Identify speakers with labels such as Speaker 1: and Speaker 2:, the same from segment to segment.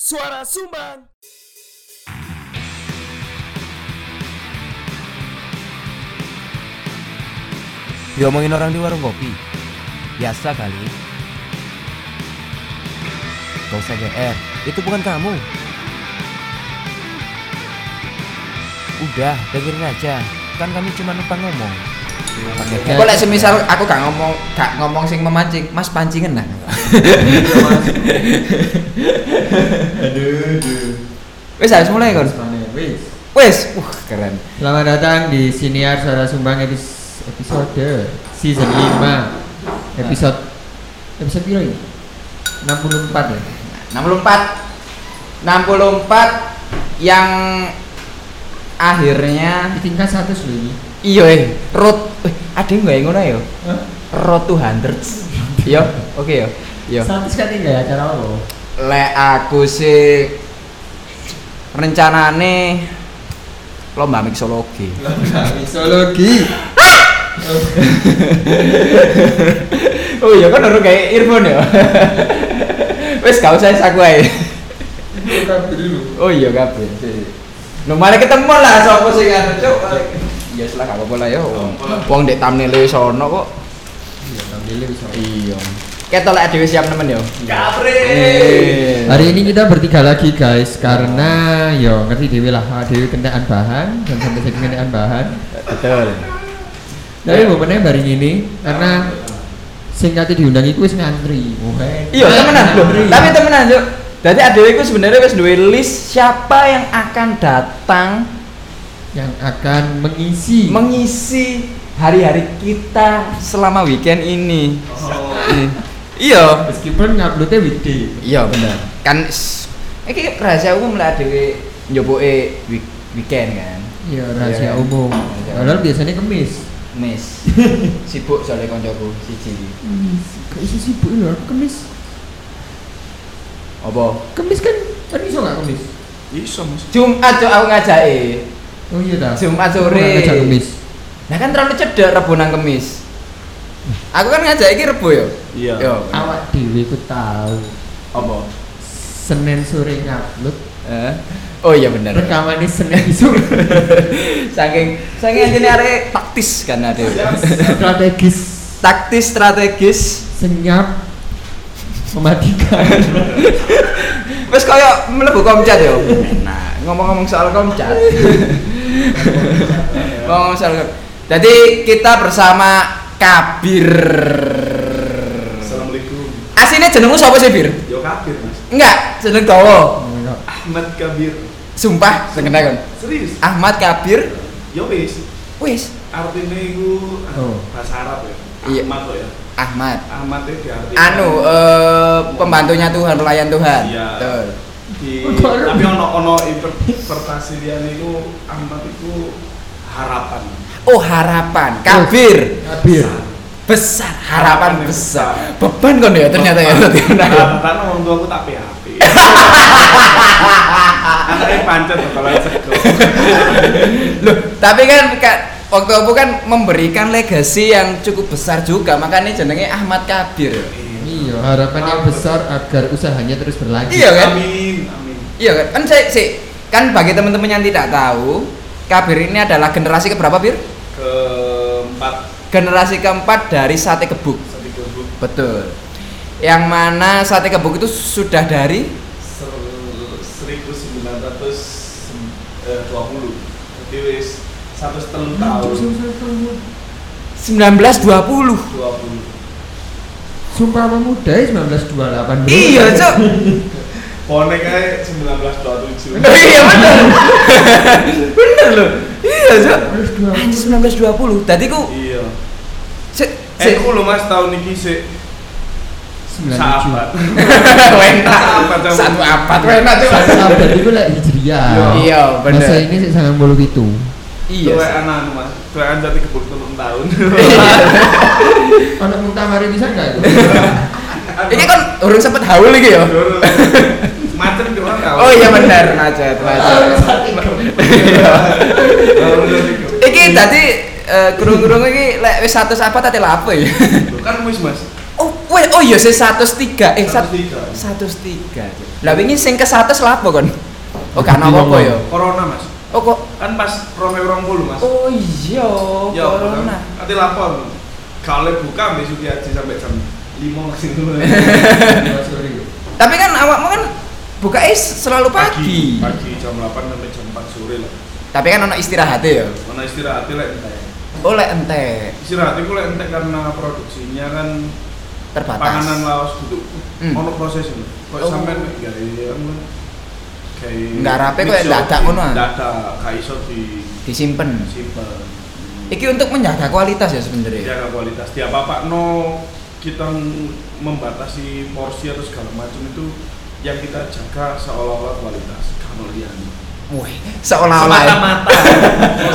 Speaker 1: Suara Sumbang.
Speaker 2: Diomongin orang di warung kopi Biasa kali Gak usah GR Itu bukan kamu Udah, dengerin aja Kan kami cuma numpang ngomong Pakai GR.
Speaker 3: Kok lek semisal aku gak ngomong gak ngomong sing memancing, Mas pancingen nah.
Speaker 4: Aduh, aduh.
Speaker 3: Wis harus mulai kon.
Speaker 4: Mana? Wis.
Speaker 3: Wis, uh keren.
Speaker 4: Selamat datang di Siniar Suara Sumbang edis- episode season 5. Episode episode piro ini? 64 ya.
Speaker 3: 64 64 yang
Speaker 4: Di
Speaker 3: akhirnya
Speaker 4: tingkat 100 loh ini.
Speaker 3: iya eh road eh, ada nggak yang ngono ya? Road to hundreds. Yo, oke yo. Yo.
Speaker 4: 100 kan ini ya acara apa?
Speaker 3: Lek aku sih rencanane lomba mixologi. Ah!
Speaker 4: Mixologi.
Speaker 3: Oh iya kan orang kayak earphone ya. Wes gak usah aku ae. Oh iya kabeh. No mari ketemu lah sapa sing anu cuk. Ya wis lah gak apa-apa lah ya. Wong ndek thumbnail e sono kok.
Speaker 4: Iya, tampilnya bisa.
Speaker 3: Iya. Ketok lek dhewe siap nemen ya.
Speaker 2: Kapre.
Speaker 3: Eh.
Speaker 4: Hari ini kita bertiga lagi guys karena yo ngerti Dewi lah Ah, Dewi kenaan bahan dan sampai saya kenaan bahan.
Speaker 3: betul.
Speaker 4: Tapi momennya hari ini karena singkatnya diundang itu wis ngantri. Nah,
Speaker 3: Iya temenan loh.
Speaker 4: Ngantri.
Speaker 3: Tapi temenan cuk. Jadi adewe iku sebenarnya wis duwe list siapa yang akan datang
Speaker 4: yang akan mengisi
Speaker 3: mengisi hari-hari kita selama weekend ini. Eh, Iya.
Speaker 4: meskipun nguploadnya weekday.
Speaker 3: Iya bener. Kan s- iki rahasia umum lah dhewe njoboke week- weekend kan.
Speaker 4: Iya rahasia
Speaker 3: Iya.
Speaker 4: umum.
Speaker 3: Rahasia
Speaker 4: Padahal
Speaker 3: umum.
Speaker 4: biasanya kemis.
Speaker 3: Miss. Sibuk soalnya koncoku siji.
Speaker 4: Gak isi sibuk ya kemis.
Speaker 3: Apa?
Speaker 4: Kemis kan kan iso gak kemis?
Speaker 3: Jumat cok aku ngajaki.
Speaker 4: Oh iya dah.
Speaker 3: Jumat
Speaker 4: Aku
Speaker 3: sore.
Speaker 4: gak ngajak kemis.
Speaker 3: Nah kan terlalu cedek Rebo nang kemis. Aku kan ngajak iki Rebo yo.
Speaker 2: Iya.
Speaker 3: Yo.
Speaker 4: Awak dewi ku tahu.
Speaker 3: Apa?
Speaker 4: Senin sore ngupload.
Speaker 3: Eh? Oh iya bener.
Speaker 4: Rekamannya Senin isu.
Speaker 3: Saking saking anjene arek taktis kan ada.
Speaker 4: Strategis
Speaker 3: Taktis strategis
Speaker 4: senyap mematikan.
Speaker 3: Wes kaya mlebu komcat yo. Nah, ngomong-ngomong soal komcat. ngomong soal Komcat. Jadi kita bersama Kabir.
Speaker 5: Assalamualaikum.
Speaker 3: Asine jenengmu sapa sih, Bir?
Speaker 5: Yo kabir mas.
Speaker 3: Enggak, jeneng dawa.
Speaker 5: Ahmad Kabir.
Speaker 3: Sumpah, sengena kan.
Speaker 5: Serius?
Speaker 3: Ahmad Kabir.
Speaker 5: Yo wis.
Speaker 3: Wis,
Speaker 5: Artinya itu
Speaker 4: Oh.
Speaker 5: bahasa Arab ya.
Speaker 3: Iya.
Speaker 5: Ahmad kok ya.
Speaker 3: Ahmad.
Speaker 5: Ahmad itu diartikan.
Speaker 3: Anu, eh, pembantunya Tuhan, pelayan Tuhan.
Speaker 5: Iya.
Speaker 3: Betul.
Speaker 5: di, tapi ono ono interpretasi dia itu Ahmad itu harapan.
Speaker 3: Oh, harapan. Kabir.
Speaker 4: Kabir.
Speaker 3: Besar, harapan
Speaker 5: Harapan yang
Speaker 3: besar.
Speaker 5: besar.
Speaker 3: Beban kon ya ternyata ya.
Speaker 5: Harapan orang tua aku tak PHP. Anaknya pancet loh kalau sego.
Speaker 3: Loh, tapi kan Kak, waktu aku kan memberikan legasi yang cukup besar juga, makanya jenenge Ahmad Kabir.
Speaker 4: Iya, harapan yang besar agar usahanya terus berlanjut.
Speaker 3: Iya kan?
Speaker 5: Amin, amin.
Speaker 3: Iya kan? Kan saya sih kan bagi teman-teman yang tidak tahu, Kabir ini adalah generasi keberapa, Bir?
Speaker 5: Keempat
Speaker 3: Generasi keempat dari Sate Kebuk.
Speaker 5: satu ribu
Speaker 3: Betul. Yang mana Sate Kebuk itu sudah dari
Speaker 5: seribu sembilan ratus eh, dua puluh jadi wis satu setengah tahun
Speaker 3: 1920.
Speaker 5: dua puluh
Speaker 4: Sumpah Pemuda ya 1928 bro.
Speaker 3: Iya, Cok.
Speaker 5: konek aja sembilan belas dua tujuh
Speaker 3: iya bener. bener loh. Iya, Cok. Anjir 1920. Tadi ku
Speaker 5: iya
Speaker 3: se-
Speaker 5: eh
Speaker 3: se-
Speaker 5: aku lho mas tahun ini sih
Speaker 4: 97.
Speaker 5: sahabat
Speaker 3: Wena.
Speaker 5: Sahabat, Cok.
Speaker 3: Satu abad wena cuma.
Speaker 4: Sahabat itu lah hijriah.
Speaker 3: Iya, bener.
Speaker 4: Masa ini sih sangat bolu itu.
Speaker 3: Iya.
Speaker 5: Tuwe anak anu, mas, tuwe anak jadi kebun telung tahun.
Speaker 4: Anak muntah mari bisa nggak? itu?
Speaker 3: Ini kan urung sempet haul iki ya.
Speaker 5: Doro. Macet di orang tahu.
Speaker 3: Oh iya bener macet macet. Iya. Iki tadi eh, kerung-kerung iki lek wis 100 apa tadi lapo ya?
Speaker 5: Kan wis mas.
Speaker 3: Oh, weh, Oh iya sih 103. Eh sat-
Speaker 5: 103.
Speaker 3: 103. Lah wingi sing ke 100 lapo kon? Oh kan
Speaker 4: Bingung,
Speaker 3: apa-apa
Speaker 4: Bang.
Speaker 3: ya.
Speaker 5: Corona mas,
Speaker 3: Oh kok
Speaker 5: kan pas Rome Rompulu mas.
Speaker 3: Oh iya,
Speaker 5: Ya,
Speaker 3: corona.
Speaker 5: Nanti lapor. Kalau buka besok ya sampai jam lima masih dulu.
Speaker 3: Tapi kan awakmu kan buka selalu pagi.
Speaker 5: Pagi jam 8 sampai jam 4 sore lah.
Speaker 3: Tapi kan ono istirahatnya ya.
Speaker 5: Mana istirahat lah entek.
Speaker 3: Oleh entek,
Speaker 5: Istirahat itu lah entek karena produksinya kan panganan
Speaker 3: terbatas.
Speaker 5: laos duduk.
Speaker 3: Hmm.
Speaker 5: Ono proses ini. Kok
Speaker 3: Oh.
Speaker 5: sampean mek gawe anu, gawe
Speaker 3: Nggak rapi kok,
Speaker 5: mix yo,
Speaker 3: dadak ngono ah.
Speaker 5: Dadak gak iso disimpen.
Speaker 3: Disimpen. Iki untuk menjaga kualitas ya sebenarnya.
Speaker 5: Jaga kualitas. Tiap apa no kita membatasi porsi atau segala macam itu yang kita jaga seolah-olah kualitas kalau lihat
Speaker 3: Wih, seolah-olah. ya.
Speaker 5: mata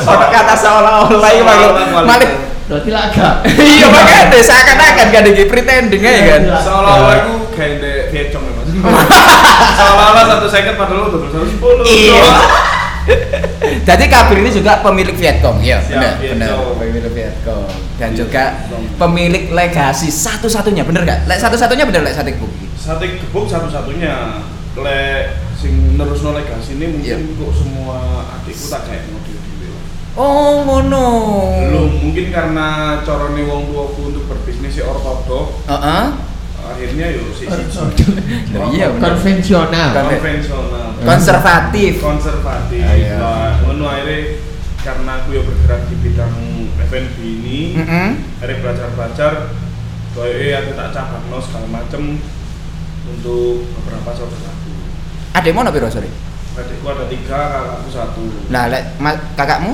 Speaker 3: Orang kata seolah-olah iki
Speaker 5: Seolah-olah
Speaker 3: malah
Speaker 4: Berarti lah agak.
Speaker 3: Iya makanya seakan-akan gak ada pretending aja kan.
Speaker 5: Iya. seolah-olah itu kayak de vietcong ya mas seolah-olah satu second padahal udah bersatu sepuluh
Speaker 3: Iya. Jadi Kabir ini juga pemilik Vietcong, ya
Speaker 5: Siap,
Speaker 3: benar,
Speaker 5: Vietcong.
Speaker 3: benar. Pemilik Vietcong dan
Speaker 5: Iya,
Speaker 3: juga
Speaker 5: Vietcong.
Speaker 3: pemilik legasi satu-satunya, bener gak? Lek satu-satunya bener lek sate kuki.
Speaker 5: sate gebuk satu-satunya le sing terus legasi ini mungkin
Speaker 3: Iya.
Speaker 5: kok semua adikku tak kayak mau diri
Speaker 3: Oh ngono.
Speaker 5: belum mungkin karena corone wong tuaku untuk berbisnis si ortodok
Speaker 3: Heeh.
Speaker 5: akhirnya yo si
Speaker 3: Lah iya bener.
Speaker 4: Konvensional.
Speaker 5: konvensional
Speaker 3: Konservatif.
Speaker 5: konservatif
Speaker 3: Ah, iya.
Speaker 5: lah ngono akhirnya karena aku yo bergerak di bidang F&B ini
Speaker 3: Heeh.
Speaker 5: akhirnya belajar belajar koyo "Eh, aku tak cabang no segala macem untuk beberapa saudaraku
Speaker 3: Adekmu ono piro sorry?
Speaker 5: adikku ada tiga kakakku satu
Speaker 3: Lah lek ma- kakakmu?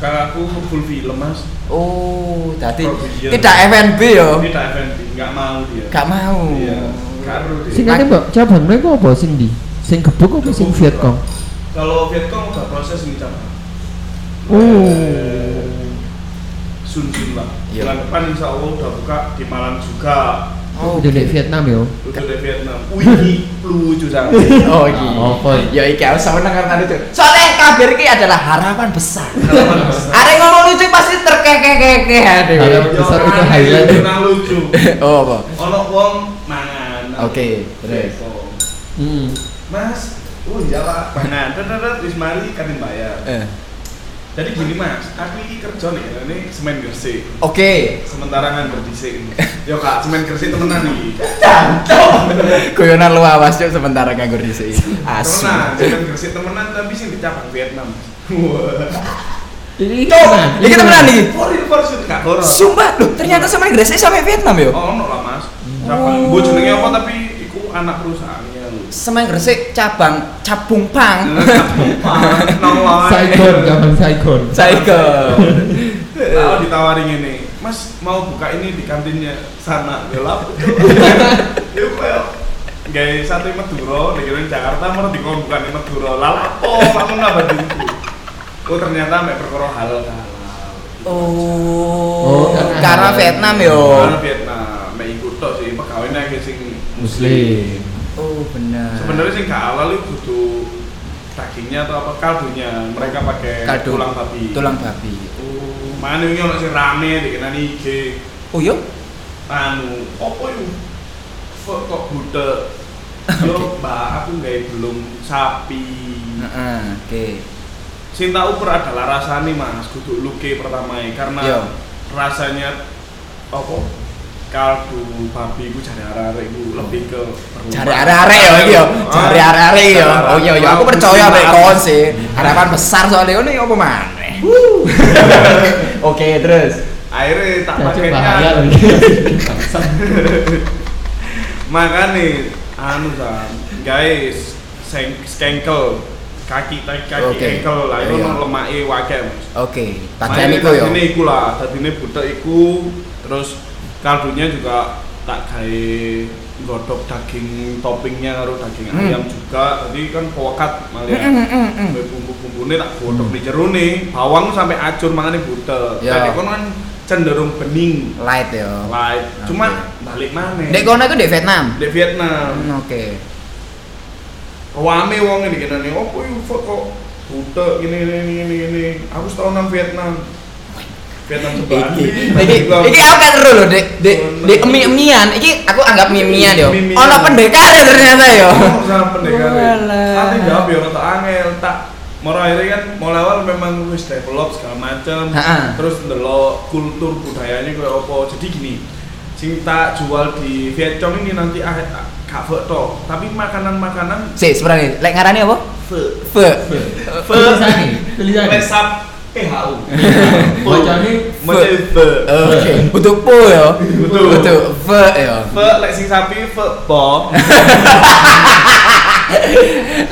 Speaker 5: kakakku full film mas
Speaker 3: Oh, tadi
Speaker 5: Provision.
Speaker 3: tidak FNB yo.
Speaker 5: ini tak F&B nggak mau dia
Speaker 3: ya? Iya. Gak mau.
Speaker 5: iya karo dia
Speaker 4: Sing ngene, Mbok, cabang mereka apa sing di? Sing gebuk apa sing Vietcong?
Speaker 5: kalau Vietcong udah proses ini cabang
Speaker 4: Oh.
Speaker 5: Sun Sun lah
Speaker 3: Iya.
Speaker 5: bulan depan insya Allah udah buka di Malang juga
Speaker 3: Oh,
Speaker 4: Udah di Vietnam yo.
Speaker 5: udah di Vietnam wih lucu sangat
Speaker 3: Oh iki.
Speaker 4: Ah, apa?
Speaker 3: Ya iki aku sama dengar tadi tuh. Soalnya kabir iki adalah harapan besar.
Speaker 5: Harapan besar.
Speaker 3: Arek ngomong lucu pasti terkekekeke
Speaker 4: Harapan
Speaker 3: dhewe.
Speaker 5: Yo,
Speaker 4: besar itu
Speaker 5: aneh,
Speaker 4: highlight.
Speaker 5: kurang lucu
Speaker 3: Oh apa?
Speaker 5: ono wong mangan
Speaker 3: Oke, terus.
Speaker 5: Vietcong.
Speaker 4: Hmm.
Speaker 5: Mas, oh iya pak. Nah, terus wis mari kan bayar.
Speaker 3: Eh.
Speaker 5: Jadi gini mas, aku ini kerja nih, ya, ini semen gresik.
Speaker 3: Oke.
Speaker 5: Sementara nganggur dhisik. Yo kak, semen gresik temenan nih.
Speaker 3: Guyonan lu awas yuk sebentar nganggur dhisik. Asu.
Speaker 5: Temenan, semen gresik temenan tapi sih dicabang Vietnam. Wah.
Speaker 4: Ini
Speaker 3: Cok, iki temenan iki.
Speaker 5: For real for sure kak horor.
Speaker 3: Sumpah lu ternyata sama Inggris sampai Vietnam ya? yo.
Speaker 5: Oh, ono lah mas. Cabang, bu jenenge apa tapi iku anak perusahaannya lu.
Speaker 3: Sama Gresik cabang Capung
Speaker 5: Iya.
Speaker 3: Pang.
Speaker 5: Nongol.
Speaker 4: Saigon, cabang Saigon.
Speaker 3: Saiko. Iya.
Speaker 5: Kalau ditawarin ini, Mas mau buka ini di kantinnya sana, Ya gelap. Yuk, well. Gaya sate Maduro, dikirim Jakarta, mau dikon bukan di Maduro. Lalapo, kamu nggak badinku. Oh ternyata mek perkara halal halal.
Speaker 3: Oh,
Speaker 4: Oh, karena-
Speaker 3: karena Vietnam yo.
Speaker 5: Karena Vietnam, mek ikut tok sih pegawainya kayak sing
Speaker 4: Muslim.
Speaker 3: Oh, benar.
Speaker 5: Sebenarnya sing gak halal itu kudu dagingnya atau apa kaldunya. Mereka pakai
Speaker 3: Kaldu.
Speaker 5: tulang babi.
Speaker 3: tulang babi.
Speaker 5: Oh, mana ini orang sing rame dikenani IG.
Speaker 3: Oh, yo.
Speaker 5: anu apa itu kok kok budak yo mbak aku nggak belum sapi
Speaker 3: Heeh, oke.
Speaker 5: sing tak ukur adalah rasanya mas kudu luke pertama karena
Speaker 3: Iya.
Speaker 5: rasanya apa kaldu babi ku cari arek ku lebih ke berubah.
Speaker 3: Cari arek-arek yo iki yo.
Speaker 5: Ah,
Speaker 3: Cari arek-arek yo.
Speaker 5: cari arek-arek.
Speaker 3: Oh, yo yo aku percaya
Speaker 5: Mesti
Speaker 3: mek
Speaker 5: maaf.
Speaker 3: kon sih. Harapan besar soalnya ngono yo apa maneh. Oke, terus.
Speaker 5: akhirnya tak
Speaker 4: Cacing bahaya
Speaker 5: pakainya
Speaker 4: lagi.
Speaker 5: makane anu sam guys seng skengkel kaki kaki kaki
Speaker 3: Oke.
Speaker 5: engkel lah itu
Speaker 3: Iya.
Speaker 5: lemak e wakil mas
Speaker 3: Oke, pakaian iku ya? yo.
Speaker 5: Ini iku lah, tadine budak iku terus kaldunya juga tak gawe godok daging toppingnya karo daging
Speaker 3: Hmm.
Speaker 5: ayam juga. Tadi kan pewakat malah.
Speaker 3: Mm, mm, mm, mm.
Speaker 5: Gawe bumbu-bumbune tak godok di jerone, bawang sampai acur mangane butek.
Speaker 3: Hmm. Ya.
Speaker 5: Jadi kono kan cenderung bening.
Speaker 3: Light yo.
Speaker 5: Light. Cuman
Speaker 3: Oke.
Speaker 5: balik maneh.
Speaker 3: Dek kono iku dek Vietnam.
Speaker 5: di Vietnam.
Speaker 3: Hmm, Oke.
Speaker 5: Wame wong ini kena nih, opo yuk kok butek gini gini gini gini. Aku setahunan Vietnam. Vietnam cobaan.
Speaker 3: Iki, iki, iki aku gak ngeru loh, dek, dek, dek emi emian. Iki aku anggap emi emian yo.
Speaker 5: Mie-mian.
Speaker 3: Ono pendekar ya ternyata yo.
Speaker 5: Ngomong sama pendekar.
Speaker 3: Walah.
Speaker 5: Tapi jawab ya kata angel tak. Moro akhirnya kan mulai awal memang wis develop segala macem
Speaker 3: Ha-ha.
Speaker 5: Terus ndelok kultur budayanya kayak apa. Jadi gini, sing tak jual di Vietcong ini nanti ah ah, gak fek tok. Tapi makanan-makanan
Speaker 3: Si, sebenarnya, lek ngarani apa?
Speaker 5: fek.
Speaker 3: Fe.
Speaker 4: Tulisan nih, tulisan nih.
Speaker 5: Lesap PHU.
Speaker 4: Bocahnya
Speaker 5: Macam fek.
Speaker 3: Oke, untuk po yo.
Speaker 5: Betul.
Speaker 3: Untuk fe yo.
Speaker 5: Fek lek sing sapi fek po.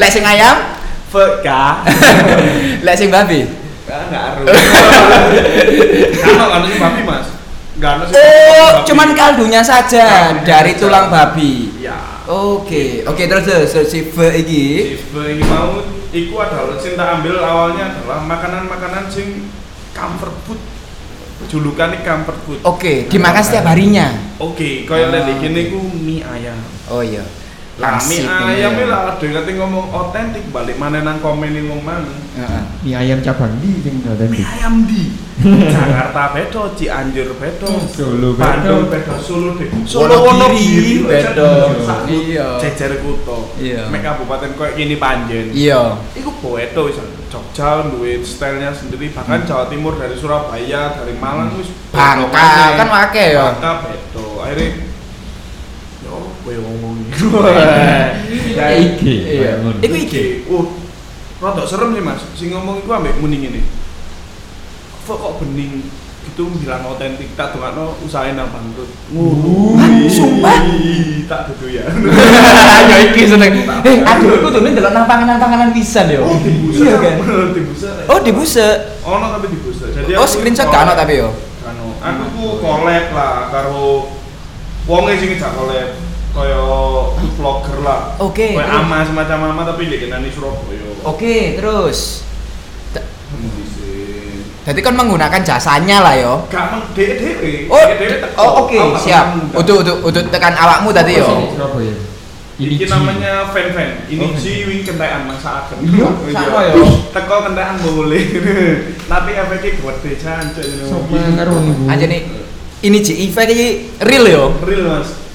Speaker 3: Lek sing ayam,
Speaker 5: Fek ka.
Speaker 3: lek sing babi.
Speaker 5: Kan enggak aru. Kan ono sing babi, Mas. Enggak ono sing
Speaker 3: Oh,
Speaker 5: babi.
Speaker 3: cuman kaldunya saja
Speaker 5: Kaldunya
Speaker 3: dari
Speaker 5: saja.
Speaker 3: tulang babi.
Speaker 5: Iya.
Speaker 3: Oke, oke terus terus terus si fe iki.
Speaker 5: Tipe ini mau iku adalah sing tak ambil awalnya adalah makanan-makanan sing comfort food. Julukan ini comfort food.
Speaker 3: Oke, dimakan setiap harinya.
Speaker 5: Oke, kaya
Speaker 3: Oh. Ah.
Speaker 5: lek iki niku mie ayam.
Speaker 3: Oh iya.
Speaker 5: Lah mie
Speaker 3: Klasik
Speaker 5: ayam
Speaker 3: ini.
Speaker 5: ini lah ada yang kata ngomong otentik balik mana nang komen ini ngomong mana.
Speaker 3: Heeh.
Speaker 4: mie ayam cabang di sing ngoten di.
Speaker 5: Mie ayam di Jakarta bedo, Cianjur bedo,
Speaker 3: Oh,
Speaker 4: Solo bedo.
Speaker 5: Bandung bedo, Solo bedo,
Speaker 3: Wonogiri bedo. Iya.
Speaker 5: Iya. Jejer kuto.
Speaker 3: Iya.
Speaker 5: Mek kabupaten koyo gini panjen.
Speaker 3: Iya.
Speaker 5: Iku boedo wis Jogja duwe stylenya sendiri bahkan Jawa Timur dari Surabaya, dari Malang wis
Speaker 3: Bangka,
Speaker 5: boedo maneh.
Speaker 3: kan wake ya.
Speaker 5: Bangka bedo. Akhire yo kowe ngomong iki. Ya
Speaker 4: IG.
Speaker 3: Iya.
Speaker 4: bangun.
Speaker 3: Iku IG.
Speaker 5: Uh, rada serem sih Mas. Sing ngomong iku ambek muni ngene. Kok kok bening gitu bilang otentik tak dongakno usahain nang bangkrut.
Speaker 3: Hah, sumpah? Iya, kan?
Speaker 5: Tak dudu ya.
Speaker 3: Ayo iki seneng. Eh, aduh aku tuh ndelok nang panganan-panganan pisan yo.
Speaker 5: Oh, dibusek.
Speaker 3: Iya kan.
Speaker 5: Dibusek.
Speaker 3: Oh, dibuse.
Speaker 5: Ono tapi dibusek. Jadi
Speaker 3: Oh,
Speaker 5: aku
Speaker 3: screenshot
Speaker 5: collab.
Speaker 3: gak ono tapi yo.
Speaker 5: Gak ono. Aku ku collab lah karo wonge sing gak collab kaya vlogger lah.
Speaker 3: Oke, Oh.
Speaker 5: Kaya
Speaker 3: terus.
Speaker 5: ama semacam ama tapi dia kenani Surabaya.
Speaker 3: Oke, terus.
Speaker 5: Mesti sih.
Speaker 3: Jadi kan menggunakan jasanya lah yo.
Speaker 5: Gak meng eh. dhewe.
Speaker 3: Oh, oh oke, siap. Oh, Untuk untuk untuk tekan awakmu tadi
Speaker 4: Apa sih,
Speaker 3: yo.
Speaker 4: Surabaya.
Speaker 5: Ini
Speaker 4: Ji.
Speaker 5: namanya fan fan.
Speaker 4: Oh,
Speaker 5: Ini
Speaker 4: fan.
Speaker 5: ji wing kentekan masa agen.
Speaker 4: Iya,
Speaker 3: sama ya.
Speaker 5: Teko kentekan boleh. Tapi efeknya gede jancuk. ini.
Speaker 4: Sopan karo niku.
Speaker 3: Aja nih. Ini Ji Effect iki real yo.
Speaker 5: Real Mas.
Speaker 3: Real. Iya.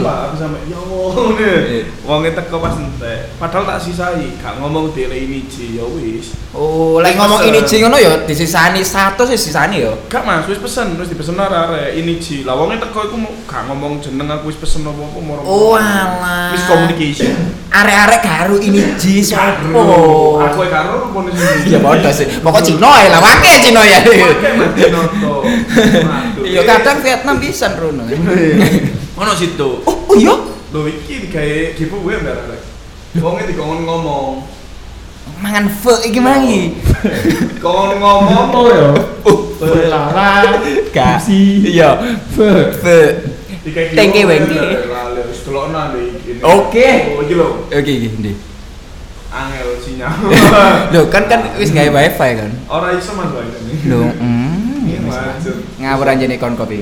Speaker 5: Sumpah aku sampe ya ngene. Wonge teko pas entek. Padahal tak sisai, gak ngomong dele ini ji ya wis.
Speaker 3: Oh, lek ngomong ini Ji ngono yo disisani 100 wis disisani yo.
Speaker 5: Gak Mas, wis pesen, wis dipesen arek ini ji. Lah wonge teko iku mau- gak ngomong jeneng aku wis pesen apa-apa moro.
Speaker 3: Oh, alah.
Speaker 5: Wis communication.
Speaker 3: Arek-arek garu ini Ji
Speaker 5: Karo.
Speaker 3: sopo?
Speaker 5: Aku yang karo rupanya sendiri.
Speaker 3: Ya bodoh sih. Pokok Cino ya lah, wake Cino ya.
Speaker 5: Pakai mati noto. Waduh.
Speaker 3: Yo Iya, kadang Vietnam pisan Rono.
Speaker 5: Ono situ.
Speaker 3: Oh, oh iya.
Speaker 5: Lho iki digawe giveaway mbak Rek. Wonge dikon ngomong.
Speaker 3: Mangan fe iki mangi.
Speaker 5: Kon ngomong.
Speaker 4: Apa ya? yo? Belara. Gipsi.
Speaker 3: Iya.
Speaker 4: Be.
Speaker 3: Fe.
Speaker 5: Dikai
Speaker 3: Tengke
Speaker 5: giveaway,
Speaker 3: wengke.
Speaker 5: Mbak Rek. Lah, lho, wis delokno ambek iki.
Speaker 3: Oke.
Speaker 5: Oh, iki lho.
Speaker 3: Oke, iki ndi.
Speaker 5: Angel sinyal.
Speaker 3: Loh, kan kan wis gawe wifi kan.
Speaker 5: Ora iso mas wae ini.
Speaker 3: Loh, mm.
Speaker 5: Ini lanjut.
Speaker 3: ngawur aja nih kon kopi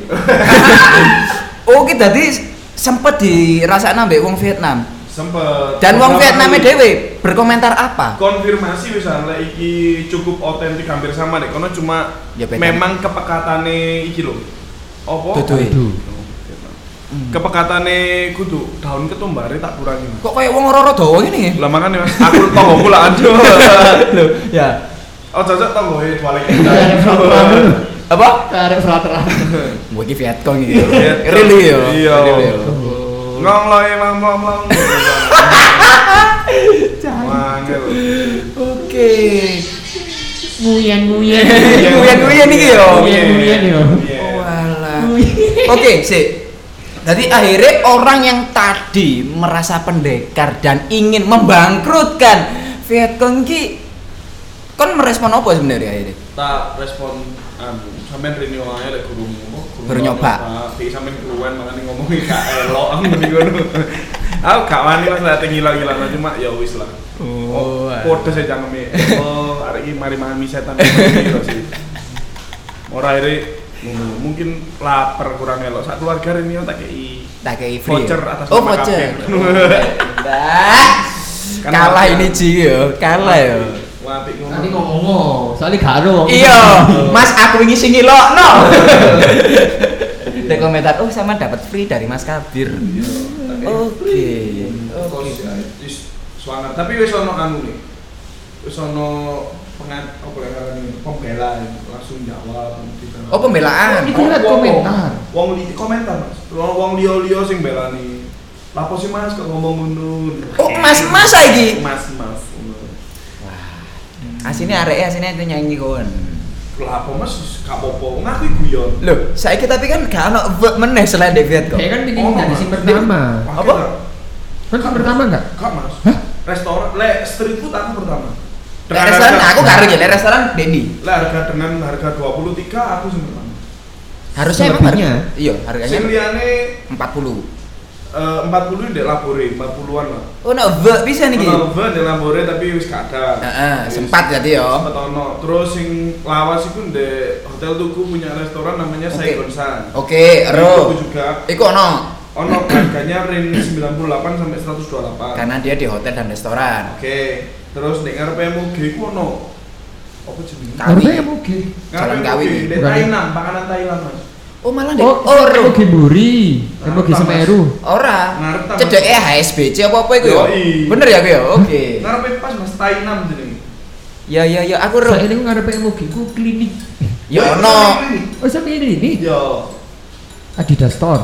Speaker 3: Oh, oke tadi sempet dirasakan ambek wong Vietnam
Speaker 5: Sempet.
Speaker 3: dan wong
Speaker 5: Pertama
Speaker 3: Vietnamnya
Speaker 5: kali
Speaker 3: dewe berkomentar apa
Speaker 5: konfirmasi bisa lah iki cukup otentik hampir sama deh karena cuma
Speaker 3: Ya, beda.
Speaker 5: memang kepekatane iki lho apa
Speaker 3: Duduhe.
Speaker 4: Aduh.
Speaker 5: kepekatane kudu daun ketumbare tak kurangi Mas.
Speaker 3: Hmm. kok kayak wong roro ya? doang ini
Speaker 5: lah makane Mas aku tonggoku lah aduh
Speaker 3: ya
Speaker 5: oh cocok tonggohe balik
Speaker 4: Karek flat-
Speaker 3: apa
Speaker 4: Karek flateran.
Speaker 3: gue di Vietcong gitu
Speaker 5: Vietcong.
Speaker 3: really yo
Speaker 5: Iya.
Speaker 3: Really, yo.
Speaker 5: ngong loe mang mong mong Wangel.
Speaker 3: oke
Speaker 4: Nguyen nguyen.
Speaker 3: Nguyen, nguyen iki yo. Oh,
Speaker 4: Nguyen nguyen yo.
Speaker 5: Iya.
Speaker 3: walah oke sih jadi akhirnya orang yang tadi merasa pendekar dan ingin membangkrutkan Vietcong ki kon merespon apa sebenarnya akhirnya
Speaker 5: tak respon anu sampean rini wae lek guru ngono
Speaker 3: Baru nyoba.
Speaker 5: tapi sampean keluwen makane ngomongi gak elok aku mending ngono aku gak wani mas lek ngilang-ilang aja cuma ya wis lah
Speaker 3: Oh,
Speaker 5: kode saya jangeme oh arek iki mari mami setan kira sih ora iri ngono. mungkin lapar kurang elok sak keluarga rini tak kei
Speaker 3: tak kayak free
Speaker 5: voucher
Speaker 3: ya?
Speaker 5: atas
Speaker 3: oh
Speaker 5: nama
Speaker 3: voucher
Speaker 5: kabeh.
Speaker 3: Bah,
Speaker 5: Kan
Speaker 3: kalah
Speaker 5: voucher.
Speaker 3: ini Ji ya kalah ya
Speaker 5: Nganti ngono.
Speaker 4: Nanti ngomong soalnya gak ada
Speaker 5: Oh.
Speaker 4: wong.
Speaker 3: Iya, Mas aku ini sing ngilokno. Dek komentar, "Oh, sama dapat free dari Mas Kabir." Oh,
Speaker 5: Oh,
Speaker 3: Oke.
Speaker 5: iya.
Speaker 3: Oh,
Speaker 5: Oke.
Speaker 3: gitu.
Speaker 5: Wis suangat, tapi wis ono anu nih. Wis ono pengat apa ya ini pembela ini, langsung jawab gitu.
Speaker 3: Oh, pembelaan.
Speaker 4: Itu lihat
Speaker 5: Wong-
Speaker 4: komentar.
Speaker 5: Wong li komentar Mas. Wong wong liyo-liyo sing belani. Lapo sih Mas kok ngomong ngono.
Speaker 3: Oh, mas-mas lagi.
Speaker 5: Mas-mas.
Speaker 3: Asine areke asine itu nyanyi kon.
Speaker 5: Lapo Mas gak apa-apa. Ngaku guyon.
Speaker 3: Loh, saiki tapi kan gak ono verb meneh selain David kok.
Speaker 4: Kayak kan ini
Speaker 5: Oh,
Speaker 4: jadi
Speaker 5: Mas.
Speaker 4: sing pertama.
Speaker 5: Pakai
Speaker 3: Apa?
Speaker 5: tak?
Speaker 4: Kan sing pertama enggak?
Speaker 5: Kak Mas. Restoran, le street food aku pertama.
Speaker 3: Lek restoran
Speaker 5: harga-
Speaker 3: aku karo ya, lek restoran Dendi.
Speaker 5: Le harga dengan harga 23 aku sing pertama.
Speaker 3: Harusnya emang
Speaker 4: Selebihnya.
Speaker 3: harga- Iya,
Speaker 5: Sing
Speaker 3: harganya
Speaker 5: liyane
Speaker 3: 40.
Speaker 5: Eh, 40 di Labore, 40-an lah.
Speaker 3: Oh, no verb bisa nih. Ki.
Speaker 5: Ono Oven di Labore tapi wis gak ada.
Speaker 3: Heeh,
Speaker 5: Wis-
Speaker 3: sempat jadi ya.
Speaker 5: Sempat ono. Terus sing lawas iku di Hotel Tuku punya restoran namanya
Speaker 3: Oke.
Speaker 5: Saigon San.
Speaker 3: Oke,
Speaker 5: Itu
Speaker 3: Ro.
Speaker 5: juga
Speaker 3: Iku ono
Speaker 5: ono harganya range 98 sampai 128.
Speaker 3: karena dia di hotel dan restoran.
Speaker 5: Oke. Terus nek ngarepe MUG ku ono apa jenenge?
Speaker 3: Kawi.
Speaker 4: Harusnya mungkin.
Speaker 5: Ngarepe
Speaker 3: Jalan Kawi.
Speaker 5: MUG, di
Speaker 4: Bukan.
Speaker 5: Thailand, pakanan Thailand, Mas.
Speaker 3: Oh, malah deh.
Speaker 4: Oh, oh, mungkin buri,
Speaker 5: Nah,
Speaker 4: mungkin
Speaker 5: Mas.
Speaker 4: semeru.
Speaker 3: Ora.
Speaker 5: Ngarep ta, Mas?
Speaker 3: Cedeke HSBC apa-apa iku ya?
Speaker 5: Yoi.
Speaker 3: Bener ya aku ya? Oke.
Speaker 5: Ngarepe pas Mas Thailand jenenge.
Speaker 3: Ya ya ya aku ro.
Speaker 4: Saya ini ngarepe mungkin ku klinik.
Speaker 3: Ya
Speaker 5: Wah,
Speaker 3: ono.
Speaker 5: ini.
Speaker 4: Oh, sampe ini ini
Speaker 3: Iya.
Speaker 5: Yo,
Speaker 4: Adidas Store.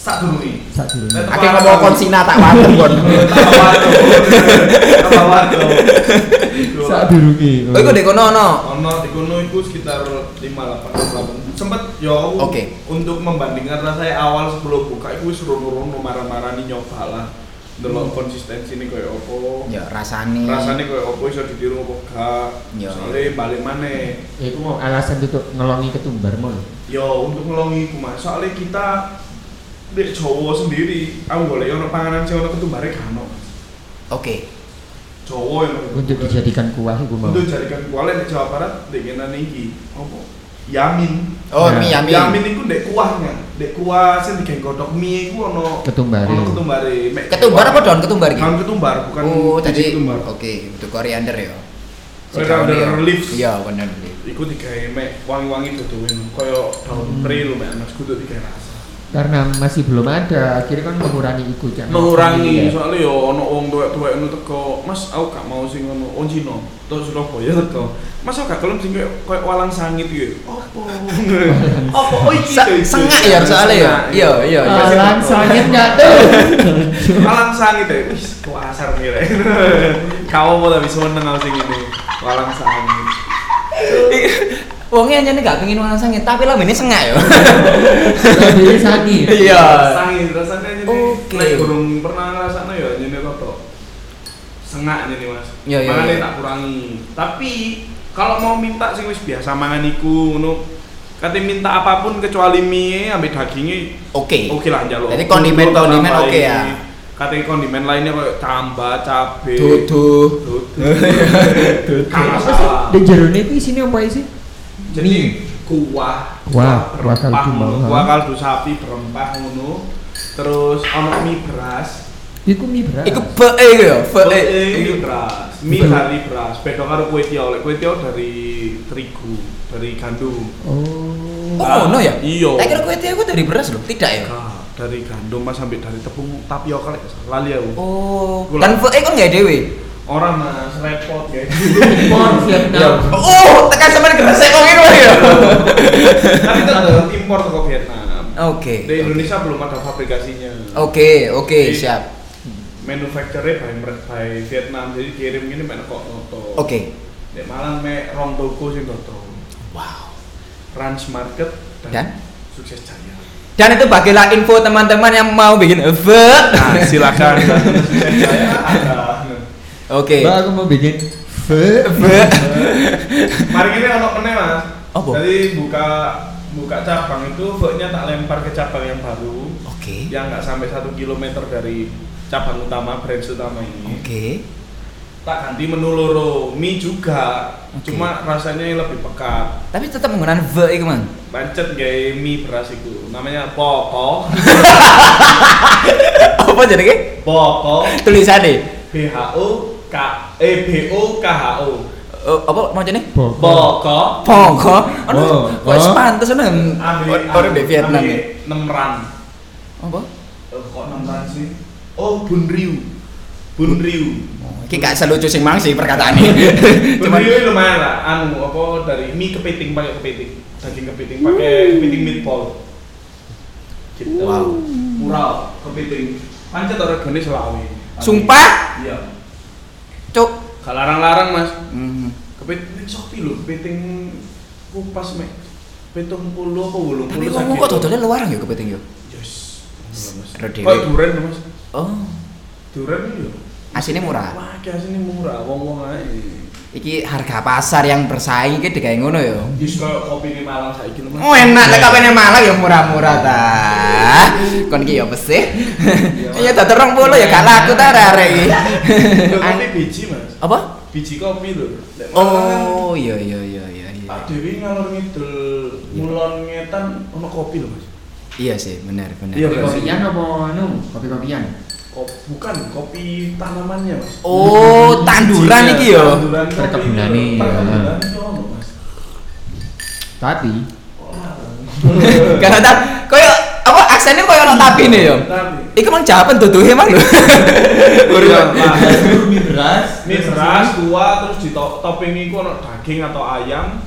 Speaker 5: sadurunge.
Speaker 4: Sak dulu.
Speaker 3: Aku ngomong konsina tak waduh kon.
Speaker 4: Sak durunge.
Speaker 3: Oh iku dek kono ono.
Speaker 5: Ono di kono iku sekitar 58 Sempet yo
Speaker 3: Oke.
Speaker 5: untuk membandingkan rasanya awal sebelum buka iku wis rono-rono marah-marani nyoba lah.
Speaker 4: Hmm.
Speaker 5: Delok konsistensi ini koyo opo.
Speaker 3: Ya rasane.
Speaker 5: Rasane koyo opo iso ditiru opo gak.
Speaker 3: Ya.
Speaker 5: Soale balik maneh.
Speaker 4: Ya iku mau alasan tutup ngelongi ketumbar mau.
Speaker 5: Yo untuk ngelongi iku Mas. Soale kita di Jawa sendiri, aku golek ono panganan sing ono ketumbare gak ono.
Speaker 3: Oke.
Speaker 5: Jawa yang ono
Speaker 4: Untuk
Speaker 5: ketumbare.
Speaker 4: dijadikan kuah iku mau.
Speaker 5: Untuk jadikan kuali di Jawa Barat dengan iki apa? Yamin.
Speaker 3: Oh,
Speaker 4: Nah.
Speaker 3: mi
Speaker 5: Yamin,
Speaker 3: yami.
Speaker 5: Yamin iku ndek kuahnya. Ndek kuah sing digeng godhog mie iku ono
Speaker 4: Ketumbare.
Speaker 5: Ono ketumbare. Mek
Speaker 3: Ketumbar apa
Speaker 5: kuah-
Speaker 3: daun ketumbar iki?
Speaker 5: Daun ketumbar bukan
Speaker 3: Oh,
Speaker 5: biji
Speaker 3: tadi.
Speaker 5: ketumbar.
Speaker 3: Oke, itu koriander ya.
Speaker 5: Koriander
Speaker 3: Sekawan ya.
Speaker 5: leaves.
Speaker 3: Iya, koriander leaves.
Speaker 5: Iku digawe mek wangi-wangi dodowen kaya daun peri lho mek Mas kudu digawe rasa.
Speaker 4: Karena masih belum ada, akhirnya kan mengurangi iku Cak.
Speaker 5: Mengurangi
Speaker 4: Iya.
Speaker 5: soalnya yo ono wong tuwek-tuwek ngono teko, Mas aku gak mau sing ngono wong Cina. Terus Surabaya teko. Mas aku gak kelem sing koyo koyo walang sangit iki. Opo? Opo oh iki
Speaker 3: Se-
Speaker 5: lho, iki.
Speaker 3: Sengak ya soalnya ya.
Speaker 5: Sengak,
Speaker 3: Iya, iya, iya.
Speaker 4: Alan sangit nggak tuh?
Speaker 5: Walang sangit ya, wis kok asar ngire. Kamu mau tapi seneng aku sing ini. Walang sangit.
Speaker 3: Wongnya Oh, hanya gak pengen orang sangit, tapi lah ini sengak ya.
Speaker 4: Jadi sangit.
Speaker 3: Iya.
Speaker 5: Sangit rasanya jadi.
Speaker 3: Oke.
Speaker 5: Nek kurang pernah ngrasakno ya nyene toto. Sengak jadi Mas.
Speaker 3: Iya, iya,
Speaker 5: Makanya
Speaker 3: iya.
Speaker 5: tak kurangi. Tapi kalau mau minta sing wis biasa mangan iku ngono. Kate minta apapun kecuali mie ambil dagingnya
Speaker 3: Oke.
Speaker 5: oke lah njaluk.
Speaker 3: Jadi kondimen-kondimen
Speaker 5: Tambahin.
Speaker 3: oke ya?
Speaker 5: Kate kondimen lainnya kayak tambah cabe.
Speaker 3: Duduh.
Speaker 5: Duduk. Gak
Speaker 4: Apa sih?
Speaker 5: masalah.
Speaker 4: Di jerone iku isine apa sih?
Speaker 5: Jadi kuah,
Speaker 4: Kuah, kuah
Speaker 5: berempah
Speaker 4: kaldu
Speaker 5: ngono,
Speaker 4: mau,
Speaker 5: kuah
Speaker 4: ha?
Speaker 5: kaldu sapi berempah ngono. Terus ono mie beras.
Speaker 4: Iku mie beras.
Speaker 3: Iku be iku ya, be
Speaker 5: Eh,
Speaker 3: iku.
Speaker 5: mie beras, mie
Speaker 4: Beras.
Speaker 5: dari beras. Beda karo kue tiaw, lek kue tiaw dari terigu, dari gandum.
Speaker 4: Oh.
Speaker 3: Oh, ngono ya?
Speaker 5: Iya.
Speaker 3: Tak kira kue teh aku dari beras loh, tidak ya?
Speaker 5: Gak, Ah, dari gandum mas sampai dari tepung tapioka lek gak salah. lali aku.
Speaker 3: Oh,
Speaker 5: Gula.
Speaker 3: kan VE kan nggak dewe.
Speaker 5: Orang mas repot guys.
Speaker 4: Impor Vietnam.
Speaker 3: Oh, tekan sampean kerasa kok ngene wae ya.
Speaker 5: Tapi tetap Kan impor ke Vietnam.
Speaker 3: Oke.
Speaker 5: Di Indonesia belum ada fabrikasinya.
Speaker 3: Oke, oke,
Speaker 5: Iya.
Speaker 3: siap.
Speaker 5: Manufacture by mer- by Vietnam. Jadi kirim gini mek kok noto.
Speaker 3: Oke.
Speaker 5: Nek Malang mek rong toko sing noto.
Speaker 3: Wow.
Speaker 5: Trans Market dan,
Speaker 3: Dan?
Speaker 5: Sukses Jaya.
Speaker 3: Dan itu bagilah info teman-teman yang mau bikin VE.
Speaker 5: Nah, silakan datang ke Sukses Jaya ada.
Speaker 3: Oke.
Speaker 4: Mbak aku mau bikin
Speaker 3: VE.
Speaker 5: Mari ini ono meneh Mas.
Speaker 3: Apa?
Speaker 5: Jadi buka buka cabang itu voknya tak lempar ke cabang yang baru
Speaker 3: Oke.
Speaker 5: yang nggak sampai satu kilometer dari cabang utama branch utama ini.
Speaker 3: Oke.
Speaker 5: tak ganti menu loro mie juga
Speaker 3: Oke.
Speaker 5: cuma rasanya lebih pekat
Speaker 3: Tapi tetap menggunakan VE iku, Mang.
Speaker 5: pancet gaya mie beras itu namanya poko
Speaker 3: Apa jenenge?
Speaker 5: poko
Speaker 3: Tulisane.
Speaker 5: b h eh, o k e b o k h o
Speaker 3: Eh, apa macamnya?
Speaker 4: Bokok.
Speaker 5: Boko.
Speaker 3: Bongko. Aduh,
Speaker 4: Bongko.
Speaker 3: kok wis pantes nang orang di Vietnam. ya?
Speaker 5: Nemran.
Speaker 3: Apa?
Speaker 5: Eh, kok nemran sih? Oh, Bunriu. Bunriu.
Speaker 3: Iki gak selucu sing mang sih perkataane. Cuman
Speaker 5: Bunriu ini lumayan lah. Anu apa dari mie kepiting pakai kepiting. Daging kepiting pakai kepiting meatball. Gitu. Wow. Murah kepiting. Pancet regane Selawi.
Speaker 3: sumpah,
Speaker 5: Iya.
Speaker 3: cuk.
Speaker 5: Gak larang-larang, Mas.
Speaker 3: Hmm.
Speaker 5: Kepiting sopi lho, kepiting kupas mek. 70 apa 80
Speaker 3: Tapi wong kok dodole luar ya kepiting yo.
Speaker 5: Yes.
Speaker 3: Redewe.
Speaker 5: Kok duren Mas?
Speaker 3: Oh,
Speaker 5: Duren yo.
Speaker 3: asine murah.
Speaker 5: Wah, ada sini murah, wong-wong ae.
Speaker 3: Iki harga pasar yang bersaing iki digawe ngono ya. yo.
Speaker 5: Yes koyo kopi di Malang saiki lho, Mas.
Speaker 3: Oh enak nek kapene malah ya murah-murah ta. Kon iki ya pesih. Ya tak 20 ya gak laku ta arek iki.
Speaker 5: Lho, kopi biji, Mas.
Speaker 3: Apa?
Speaker 5: Biji kopi lho. Lek Malang kan,
Speaker 3: Oh, iya iya iya iya. iya.
Speaker 5: Pak Dewi ngalor ngidul mulon ngetan ono kopi lho, Mas.
Speaker 3: Iya sih, benar benar.
Speaker 5: Iya,
Speaker 4: Kopi
Speaker 5: Mas.
Speaker 4: kopian apa anu? Kopi kopian.
Speaker 5: Kop- bukan kopi tanamannya, Mas.
Speaker 3: Oh, tanduran iki yo.
Speaker 5: Iya, Tanduran kopi
Speaker 4: Perkebunan
Speaker 5: lho.
Speaker 4: nih, ya.
Speaker 5: Perkebunan itu ono, Mas.
Speaker 4: Tapi
Speaker 3: Karena tak koyo apa aksennya koyo ono tabine yo.
Speaker 5: Tapi
Speaker 3: Iku mang jawaban duduhe mang lho.
Speaker 5: Iya, Pak.
Speaker 4: mie beras,
Speaker 5: Mie beras tua terus di to- topping iku ono daging atau ayam.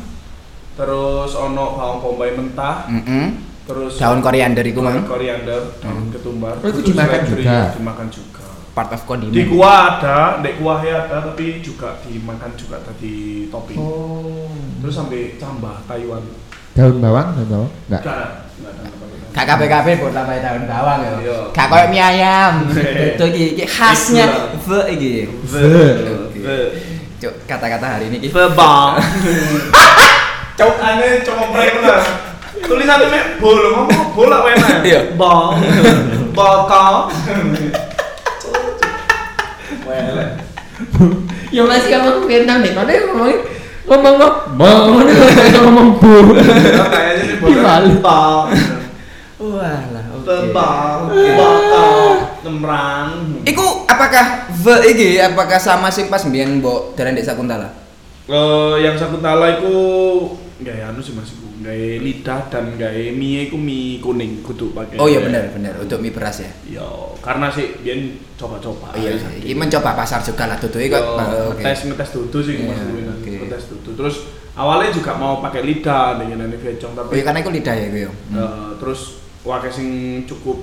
Speaker 5: Terus ono bawang bombay mentah,
Speaker 3: Heeh.
Speaker 5: terus
Speaker 3: Daun koriander iku mang
Speaker 5: koriander, daun ketumbar.
Speaker 4: Oh, itu
Speaker 5: terus
Speaker 4: dimakan
Speaker 5: seledri,
Speaker 4: juga?
Speaker 5: Dimakan juga.
Speaker 3: part
Speaker 5: Di
Speaker 3: of condiment.
Speaker 5: kuah ada, di kuahnya ada tapi juga dimakan juga tadi topping.
Speaker 4: Oh.
Speaker 5: Terus sampai tambah Taiwan.
Speaker 4: Daun bawang, daun bawang? Enggak.
Speaker 5: Enggak ada, enggak ada apa-apa.
Speaker 3: Gak kabeh-kabeh buat lambai daun bawang
Speaker 5: Iya.
Speaker 3: yo. Gak koyo mie ayam.
Speaker 5: Iya.
Speaker 3: Itu iki iki khasnya
Speaker 5: Iya.
Speaker 3: ve iki.
Speaker 5: Ve-
Speaker 3: Oke.
Speaker 5: ve-
Speaker 3: Cuk, kata-kata hari ini iki.
Speaker 5: Bebang. Cok ane cuma pernah. Tulisannya mek bol, ngomong bol lah enak. ya?
Speaker 3: Iya.
Speaker 5: Bol. Bokong. Welek.
Speaker 4: Ya masih kamu Vietnam nih, kau ngomongin ngomong ngomong ngomong ngomong ngomong bu.
Speaker 5: Kayaknya nih bol.
Speaker 4: Balik.
Speaker 5: Bol.
Speaker 3: Wah lah.
Speaker 5: Bebang.
Speaker 3: Iya.
Speaker 5: Bokong. Nemrang.
Speaker 3: Iku apakah ve iki apakah sama sing pas mbiyen mbok dalan Dek Sakuntala?
Speaker 5: Eh, yang Sakuntala iku nggak ya anu sih Mas iku. Nggak ya lidah dan nggak ya mie iku mie kuning kudu pakai.
Speaker 3: Oh iya benar benar untuk mie beras ya.
Speaker 5: Ya, karena sih biyen coba-coba.
Speaker 3: Oh iya,
Speaker 5: Sakit.
Speaker 3: ini mencoba pasar juga lah tutup kok.
Speaker 5: Yo,
Speaker 3: Oh, Oke.
Speaker 5: ngetes ngetes dudu sih
Speaker 3: Iya,
Speaker 5: mas Ruin,
Speaker 3: oke.
Speaker 5: ngetes dudu terus awalnya juga mau pakai lidah dengan ini vecong
Speaker 3: Oh iya
Speaker 5: tapi
Speaker 3: karena itu lidah ya gue.
Speaker 5: eh, terus wakai sing cukup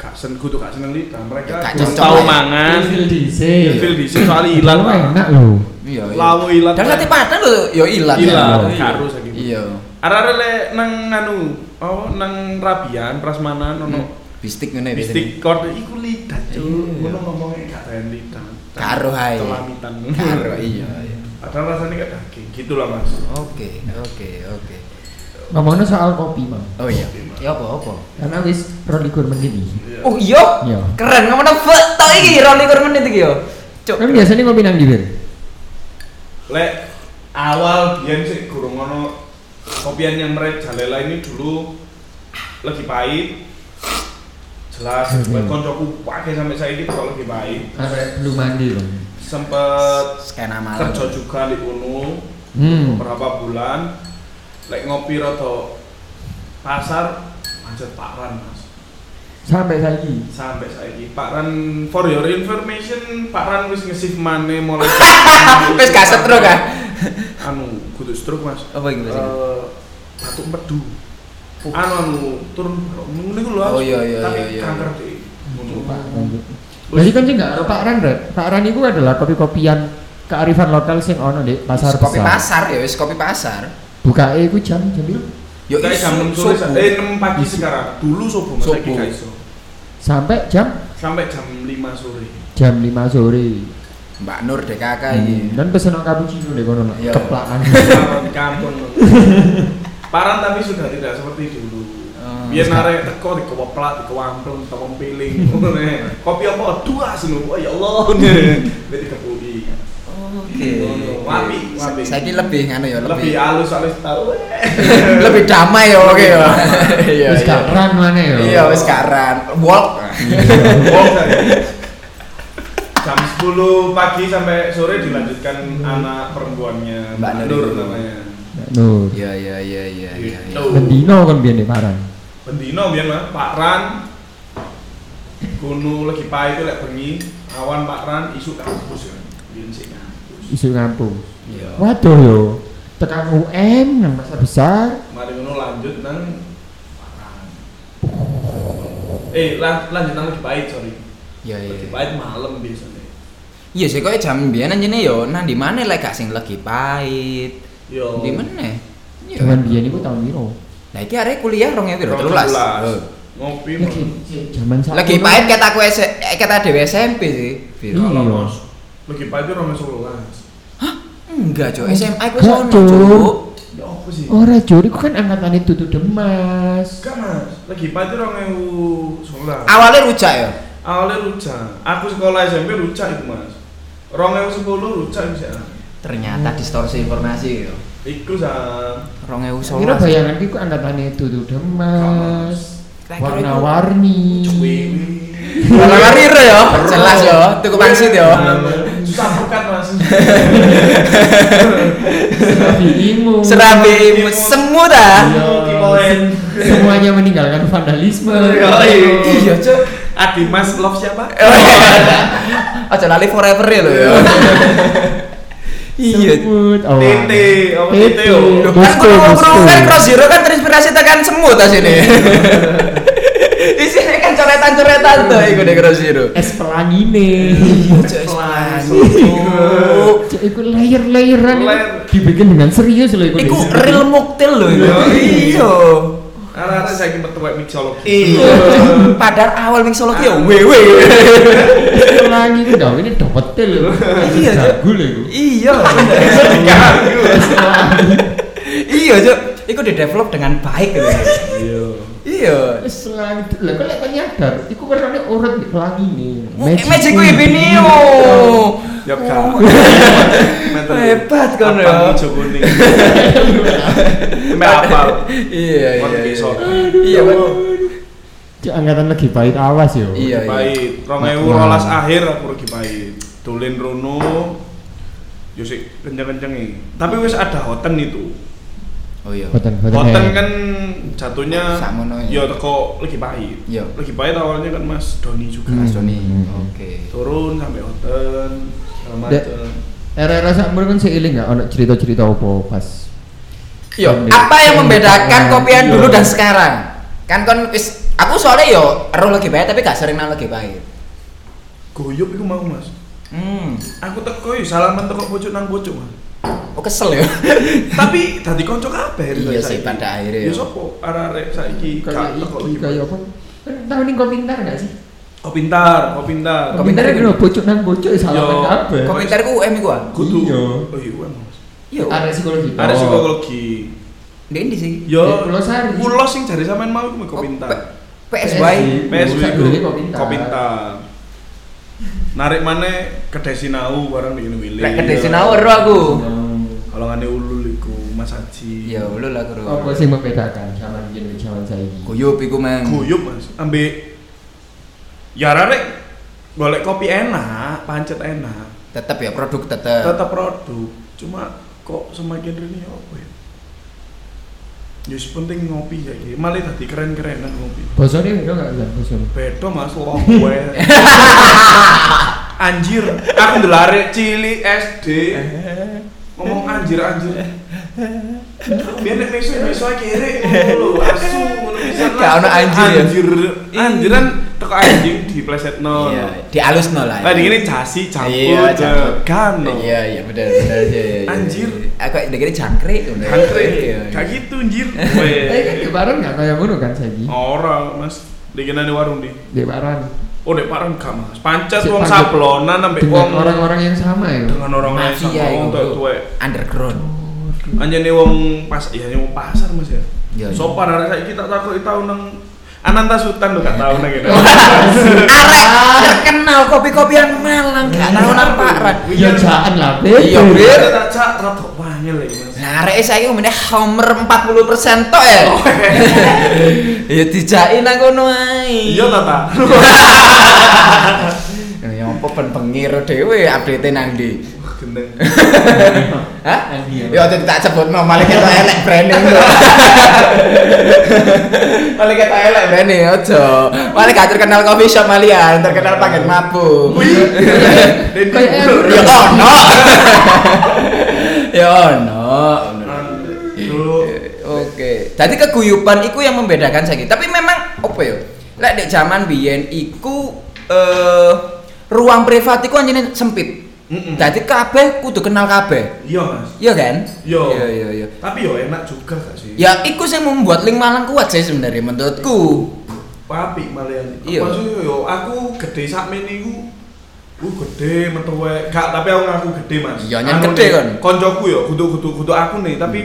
Speaker 5: gak sen kudu gak seneng lidah mereka
Speaker 3: Ya, gak
Speaker 5: kurang
Speaker 3: cocok
Speaker 5: tahu
Speaker 3: lah.
Speaker 5: mangan
Speaker 4: Feel DC.
Speaker 5: feel di sini soal ilan
Speaker 4: Lalu Iya. enak loh.
Speaker 3: Iya. iya.
Speaker 5: lawu ilan
Speaker 3: Dan nanti padahal lo yo ilat. ya.
Speaker 5: ilan
Speaker 4: Iya.
Speaker 5: gak harus lagi
Speaker 3: Iya.
Speaker 5: arah le nang anu oh nang rabian prasmanan
Speaker 3: Hmm.
Speaker 5: ono
Speaker 3: Bistik ngene
Speaker 5: mistik kord iku lidah cuy
Speaker 4: Iya.
Speaker 5: ngono ngomongnya gak tahan lidah
Speaker 3: Karo hai.
Speaker 5: Celamitan.
Speaker 3: Karo iya. iya.
Speaker 5: Padahal rasanya kayak daging gitu lah mas
Speaker 3: Oke, oke, oke.
Speaker 4: Ngomongin soal kopi mang.
Speaker 3: Oh iya. Ya apa apa?
Speaker 4: Karena wis rolikur menit ini.
Speaker 3: Oh iya.
Speaker 4: Iya.
Speaker 3: Keren ngomongno foto iki 22 menit iki yo. Cuk.
Speaker 4: Hmm. Kan biasanya kopi nang dibir.
Speaker 5: Lek awal biyen sih gurung ono kopian yang merajalela ini dulu lagi pahit. Jelas
Speaker 3: Hmm.
Speaker 5: buat koncoku pakai sampai saya ini kalau lagi pahit.
Speaker 4: Arek belum mandi loh.
Speaker 5: Sempet
Speaker 3: skena malam.
Speaker 5: kerja juga di Uno
Speaker 4: Hmm.
Speaker 5: beberapa bulan. Lek ngopi roto pasar macet Pak Ran mas.
Speaker 4: Sampai saiki.
Speaker 5: Sampai saya ini Pak Ran for your information Pak Ran wis ngesif mana mulai.
Speaker 3: Wis gak stroke ah.
Speaker 5: Anu kudu stroke mas.
Speaker 3: Apa iki Mas?
Speaker 5: Eh, batuk pedu anu anu turun ngono iku lho
Speaker 3: Oh, iya, iya,
Speaker 5: tapi
Speaker 3: iya, iya.
Speaker 5: kanker di ngono
Speaker 4: Pak Ran. Berarti kan sih nggak ada Pak Ran, Red. Pak Ran itu adalah kopi-kopian kearifan lokal sing ono di pasar
Speaker 3: Kopi
Speaker 4: besar.
Speaker 3: pasar ya wis kopi pasar.
Speaker 4: Buka itu jam jam piro?
Speaker 3: Yo
Speaker 5: Kayak
Speaker 3: isu-
Speaker 5: jam 6 sore
Speaker 3: subuh.
Speaker 5: eh 6 pagi sekarang dulu subuh mas lagi
Speaker 3: Subuh.
Speaker 5: gak iso
Speaker 4: sampai jam
Speaker 5: sampai jam 5 sore
Speaker 4: jam 5 sore.
Speaker 3: Mbak Nur DKK iki.
Speaker 4: Hmm. Dan pesen no cappuccino deh kono
Speaker 3: Iya.
Speaker 4: keplakan.
Speaker 5: Kalau di kampung paran tapi sudah tidak seperti dulu
Speaker 3: Hmm.
Speaker 5: biar narik teko di kewaplak di kewampung tepung piling ngono, eh. kopi apa dua sih oh ya Allah jadi kepudi
Speaker 3: Oke.
Speaker 5: Ngono, wapi, wapi.
Speaker 3: Saya lebih nganu ya,
Speaker 5: lebih
Speaker 3: lebih
Speaker 5: halus halus tahu
Speaker 3: lebih damai ya oke ya. Iya.
Speaker 4: Terus
Speaker 3: iya.
Speaker 4: gak Ran mana ya?
Speaker 3: Iya, wis karan. Walk.
Speaker 5: Bohong saya. jam 10 pagi sampai sore dilanjutkan anak perempuannya
Speaker 3: Mbak
Speaker 5: Mbak
Speaker 3: Nur.
Speaker 5: Nur namanya.
Speaker 4: Nur.
Speaker 3: Ya ya ya ya ya. ya.
Speaker 5: Gitu.
Speaker 4: Bendino kan biar di parang.
Speaker 5: Bendino biyen Mas, Pak Ran. Gunung lagi pai itu lek bengi, awan Pak Ran isu kampus ya. Biyen sik kampus.
Speaker 4: Isu kampung.
Speaker 5: Iya.
Speaker 4: Waduh yo. Tekan UM yang masa besar.
Speaker 5: Mari ngono lanjut nang Pak Ran. Eh, lan- lanjut nang lagi pahit, sorry.
Speaker 3: Ya ya.
Speaker 5: Lagi pahit malam biasanya.
Speaker 3: Iya sih kok jam biyen anjene yo nang di mana lek gak sing legi pahit.
Speaker 5: Yo.
Speaker 3: Di mana? Iya.
Speaker 4: Cuman biar itu tahun biru.
Speaker 3: Nah iki arek kuliah 2013.
Speaker 5: 13.
Speaker 3: Loh.
Speaker 5: Ngopi.
Speaker 4: Lagi zaman Iya. saya.
Speaker 3: Oh. Iya. Lagi pahit kata aku S eh, kata dewe SMP sih. Piro?
Speaker 4: Iya.
Speaker 5: Mas. Lagi pahit itu Romes 11.
Speaker 3: Enggak, Cuk. SMA
Speaker 4: Enggak,
Speaker 3: aku sono,
Speaker 4: Cuk.
Speaker 3: Cuk.
Speaker 5: Ya apa sih?
Speaker 4: Ora juri ku kan angkatan itu tuh demas.
Speaker 5: Kan mas, lagi pahit itu Romes 11.
Speaker 3: Awalnya rujak ya.
Speaker 5: Awalnya rujak. Aku sekolah SMP rujak itu mas. Rong ewu sepuluh rujak bisa.
Speaker 3: Ternyata distorsi informasi yo.
Speaker 5: Iku sah.
Speaker 3: 2011.
Speaker 4: Kira bayangan ku angkatan itu tuh demas.
Speaker 3: Kira-kira itu-
Speaker 4: Warna-warni.
Speaker 5: Cuwi.
Speaker 3: Warna rire yo. Jelas yo, tuku pangsit yo.
Speaker 5: Susah bukan mas.
Speaker 4: Serabimu.
Speaker 3: Serabi semut ah.
Speaker 4: Iya.
Speaker 5: Kipoen.
Speaker 4: Semuanya meninggalkan vandalisme.
Speaker 5: Iya
Speaker 3: Iya, Cuk.
Speaker 5: Adi mas love siapa?
Speaker 3: Eh, oh, Aja lali forever ya lo ya. Iya.
Speaker 4: Semut. Oh.
Speaker 5: Tete, apa
Speaker 4: Tete.
Speaker 5: tete? yo?
Speaker 3: Kan
Speaker 4: Bosku,
Speaker 3: kalau
Speaker 4: bosku.
Speaker 3: kan cross zero kan terinspirasi tekan semut tas ini. Isinya kan coretan-coretan tuh iku deh cross zero.
Speaker 4: Es pelangine.
Speaker 3: Iku-
Speaker 4: Cek, Iku layer-layeran itu
Speaker 5: Layer.
Speaker 4: dibikin dengan serius loh iku.
Speaker 3: Iku real muktil loh iku. Iya.
Speaker 5: Anak-anak saya ingin bertemu mixologi.
Speaker 3: Iya. Padahal awal mixologi ya wewe.
Speaker 4: pelangi itu dah ini dapetil loh.
Speaker 3: Iya, Cuk.
Speaker 4: Jago loh iku.
Speaker 3: Iya.
Speaker 4: Es pelangi.
Speaker 3: Iya, Cuk. Iku di-develop dengan baik lho. Iya.
Speaker 4: Es pelangi. Lah kok lek kau nyadar iku warnane urut di pelangi nih.
Speaker 3: Oh, Magic kuwi binio.
Speaker 5: Ya kan. Mental.
Speaker 3: Oh. Hebat kan
Speaker 5: Apa
Speaker 3: ya.
Speaker 5: hijau kuning? Sampai hafal.
Speaker 3: Iya, iya.
Speaker 5: Kon
Speaker 3: iya.
Speaker 5: besok.
Speaker 3: Iya, Pak.
Speaker 4: Cek angkatan lagi baik awas yo.
Speaker 3: Iya, iya.
Speaker 5: Pahit. Rong ewu
Speaker 4: Nah.
Speaker 5: rolas akhir aku lagi pahit. Dolen rono. Yo sik kenceng-kenceng iki. Tapi wis ada hoten itu.
Speaker 3: Oh iya.
Speaker 4: Boten boten.
Speaker 5: Hoten kan jatuhnya
Speaker 3: Sakmono ya.
Speaker 5: ya teko lagi pahit.
Speaker 3: Iya.
Speaker 5: Lagi pahit awalnya kan Mas Doni juga.
Speaker 3: Mas Doni.
Speaker 4: Hmm.
Speaker 3: Oke.
Speaker 5: Turun sampai hoten. segala
Speaker 4: Dek.
Speaker 5: macem.
Speaker 4: Era-era sakmur kan seiling gak ono cerita-cerita opo pas
Speaker 3: Yo, apa yang membedakan kopian dulu dan sekarang? Kan kon wis aku soalnya yo ero lagi pahit tapi gak sering nang lagi pahit.
Speaker 5: Goyop iku mau Mas.
Speaker 3: Hmm,
Speaker 5: Aku teko yo salaman teko pojok nang pojok Mas.
Speaker 3: aku kesel yo.
Speaker 5: Tapi dadi kanca kabeh
Speaker 3: Iya sih, pada akhirnya
Speaker 5: Ya
Speaker 3: ya.
Speaker 5: sopo arek-arek saiki
Speaker 4: kayak
Speaker 5: gak teko
Speaker 4: iki
Speaker 5: lagi pahit.
Speaker 4: kayak apa? Kan tahun ini kau pintar gak sih?
Speaker 5: Kau pintar, kau pintar.
Speaker 3: Kau pintar
Speaker 4: Komentar kan
Speaker 3: gini.
Speaker 4: bocok nang bocok salaman
Speaker 5: Yo.
Speaker 4: apa?
Speaker 3: Komentarku UM iku ah.
Speaker 5: Kudu.
Speaker 4: Iya.
Speaker 5: Oh iya, Mas.
Speaker 3: Yo,
Speaker 4: Ada psikologi. Oh.
Speaker 5: Ada psikologi.
Speaker 3: ndek ndi sih?
Speaker 5: Yo,
Speaker 4: Eh, Pulau Sari.
Speaker 5: Pulau sing jari sampean mau iku kau
Speaker 3: Oh, P-
Speaker 5: pintar.
Speaker 3: PSY.
Speaker 5: PSW
Speaker 4: Satu
Speaker 5: iku
Speaker 4: lagi kau pintar.
Speaker 5: kau pintar. Narik mana ke Desinau barang di Willy.
Speaker 3: Lek ke Desinau ero aku.
Speaker 4: Oh.
Speaker 5: Kalau ngane ulul iku Mas Haji.
Speaker 3: Ya lu lah kru.
Speaker 4: Apa sih membedakan zaman biyen dengan zaman saiki?
Speaker 3: Guyup iku mang.
Speaker 5: Guyup, Mas. Ambek Ya arek golek kopi enak, pancet enak.
Speaker 3: Tetep ya produk tetep.
Speaker 5: tetap produk cuma kok semakin ini apa ya Yus penting ngopi ya gitu. Malah tadi keren-kerenan ngopi.
Speaker 4: Bosone beda gak bisa bosone?
Speaker 5: Bedo mas lo gue. anjir, aku ndelare cili SD. Ngomong anjir anjir. Biar nek mesu mesu kere ngono lho, asu ngono bisa lah.
Speaker 3: Gak ono anjir ya?
Speaker 5: Anjir. Anjiran teko anjing di plesetno.
Speaker 3: Iya, dialusno lah.
Speaker 5: Lah ini jasi
Speaker 3: Iya,
Speaker 5: campur
Speaker 3: campur.
Speaker 5: kan.
Speaker 3: Iya, iya benar benar iya, iya, iya.
Speaker 5: Anjir.
Speaker 3: Aku dengerin jangkrik. bener. Iya,
Speaker 5: Angkrik,
Speaker 3: iya.
Speaker 5: kayak gitu anjir.
Speaker 4: Eh kan di barang gak kaya ngono kan saiki?
Speaker 5: Oh. Orang mas, dikenal di warung di.
Speaker 4: Di barang
Speaker 5: Oh dek parang gak mas,
Speaker 4: Si
Speaker 5: pancet wong
Speaker 4: pancet.
Speaker 5: sablonan sampai
Speaker 4: dengan
Speaker 5: wong
Speaker 4: orang-orang yang sama ya.
Speaker 5: dengan orang lain sama
Speaker 3: Mafia
Speaker 5: wong
Speaker 3: iku,
Speaker 5: tua
Speaker 3: Bro.
Speaker 5: tua.
Speaker 3: Underground.
Speaker 5: Hanya nih wong pas, ya nih wong pasar mas ya.
Speaker 3: Iya, iya.
Speaker 5: Sopan arek saya kita takut tahu nang Ananta Sultan lo gak tahu nang gitu.
Speaker 3: Oh, Arek terkenal kopi-kopian Malang gak tahu nang Pak Ran.
Speaker 4: Ya jaan lah. Beb.
Speaker 3: Iya, Beb.
Speaker 5: Iya tak cak rata panggil lagi mas.
Speaker 3: Nah, arek saiki ngomongnya Homer 40% tok ya.
Speaker 5: Oh,
Speaker 3: Ya dijaki nang kono ae.
Speaker 5: Iya tata.
Speaker 3: Ya Apa ben pengir dhewe update nang ndi?
Speaker 5: Wah, gendeng.
Speaker 3: Hah?
Speaker 4: Nang ndi, ya?
Speaker 3: Ya ojo tak sebutno malah kita elek branding lho. malah kita elek branding ojo. Malah gak terkenal coffee shop malian, terkenal paket mabuk.
Speaker 5: Dan
Speaker 4: Kayak
Speaker 5: dulu.
Speaker 4: Elro.
Speaker 3: Ya ono. Ya ono.
Speaker 5: Nah,
Speaker 3: Iya.
Speaker 5: dulu
Speaker 3: Oke. Jadi keguyupan iku yang membedakan saiki. Tapi memang opo ya? Lek di zaman biyen iku eh ruang privat iku anjene sempit.
Speaker 5: Mm-mm.
Speaker 3: Jadi kabeh kudu kenal kabeh.
Speaker 5: iya mas
Speaker 3: Iya kan?
Speaker 5: Yo.
Speaker 3: Iya iya iya.
Speaker 5: tapi yo enak juga gak sih
Speaker 3: Ya iku sing membuat link Malang kuat sih sebenarnya menurutku.
Speaker 5: papi malian
Speaker 3: Iya.
Speaker 5: maksudnya yo aku gede sak mene iku ku gede metuwe gak tapi aku ngaku gede mas Anu
Speaker 3: Iya, nyen gede
Speaker 5: nih,
Speaker 3: kan?
Speaker 5: koncoku yo kudu kudu kudu aku nih tapi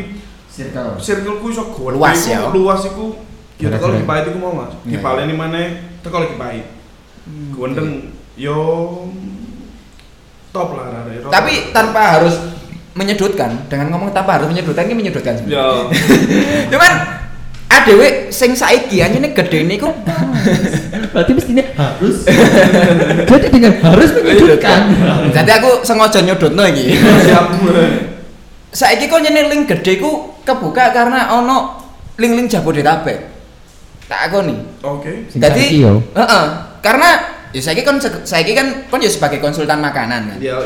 Speaker 4: Circle.
Speaker 5: circleku iso gede
Speaker 3: Hmm. Luas
Speaker 5: iku,
Speaker 3: ya.
Speaker 5: luas iku ya
Speaker 4: Bener,
Speaker 5: teko
Speaker 4: bener.
Speaker 5: lagi pahit iku mau mas
Speaker 3: Iya,
Speaker 5: di paleni mana teko lagi pahit gondeng yo top lah rada rada.
Speaker 3: Tapi tanpa harus menyedutkan dengan ngomong tanpa harus menyedutkan ini menyedutkan sebenarnya.
Speaker 5: yo
Speaker 3: Cuman adewe sing saiki anjene gede niku
Speaker 4: Berarti mestinya harus. Berarti dengan harus
Speaker 5: iya,
Speaker 4: menyudutkan.
Speaker 5: kan.
Speaker 4: Kan
Speaker 3: Jadi aku sengaja nyodotno iki.
Speaker 5: siap
Speaker 3: Saiki kok nyene link gede ku kebuka karena ono link-link Jabodetabek. Tak aku nih.
Speaker 5: oke
Speaker 4: Sing saiki
Speaker 3: Jadi,
Speaker 4: yo.
Speaker 3: heeh, karena ya saiki kan saiki kan kon ya sebagai konsultan makanan kan.
Speaker 5: yo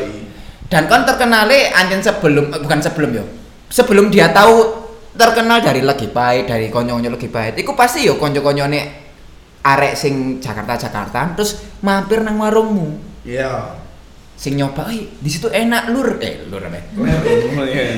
Speaker 3: Dan kon terkenale anjen sebelum eh, bukan sebelum yo. Sebelum dia tahu terkenal dari Legi Pahit, dari konyo-konyo Legi Pahit. Iku pasti yo konyo-konyone arek sing Jakarta-Jakarta terus mampir nang warungmu.
Speaker 5: iya
Speaker 3: Sing nyoba, "Eh, di situ enak lur." Eh, lur apa? ya?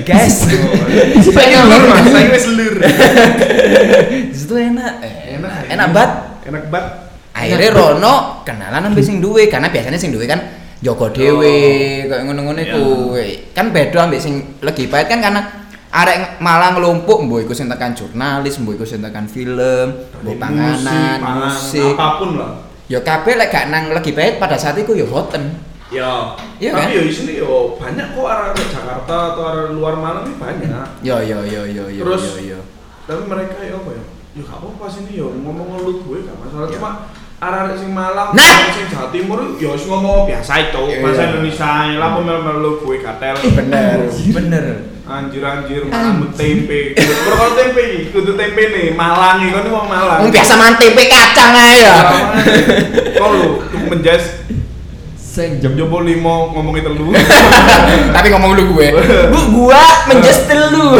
Speaker 5: Guys,
Speaker 3: Guys,
Speaker 5: Oh, iya. saya lur mas, saya wes lur.
Speaker 3: di situ enak. Eh,
Speaker 5: Enak,
Speaker 3: enak, enak banget.
Speaker 5: Enak banget.
Speaker 3: akhirnya Rono kenalan ambil sing duwe karena biasanya sing duwe kan Joko Dewe kayak ngono-ngono
Speaker 5: Ya.
Speaker 3: iku kan beda ambil sing lagi pahit kan karena arek malah ngelumpuk mbok iku sing tekan jurnalis mbok iku sing tekan film mbok panganan musik
Speaker 5: apapun lah.
Speaker 3: ya kabeh lek gak nang lagi pahit pada saat iku ya hoten
Speaker 5: Ya,
Speaker 3: Iya
Speaker 5: tapi
Speaker 3: kan?
Speaker 5: ya di sini yo banyak kok arah ke Jakarta atau arah luar Malang ini banyak.
Speaker 3: yo yo yo yo yo
Speaker 5: Terus?
Speaker 3: yo yo
Speaker 5: Tapi mereka ya apa ya? Ya gak apa-apa sini yo ngomong ngeluh gue gak masalah.
Speaker 3: Iya.
Speaker 5: Cuma arah sing Malang,
Speaker 3: Nah!
Speaker 5: arah sing Jawa Timur ya wis ngomong biasa itu
Speaker 3: Iya,
Speaker 5: bahasa
Speaker 3: iya.
Speaker 5: Indonesia. Lah apa melu gue katel.
Speaker 3: bener bener
Speaker 5: Anjir-anjir Malang tempe. Kudu kalau tempe iki, kudu tempe nih Malang iki kan wong Malang.
Speaker 3: Wong biasa makan tempe kacang ae ya
Speaker 5: Kok lu tuh menjas
Speaker 4: Sing jam
Speaker 5: Jopo limo ngomongi telu.
Speaker 3: tapi ngomong lu gue bu gua menjestil lu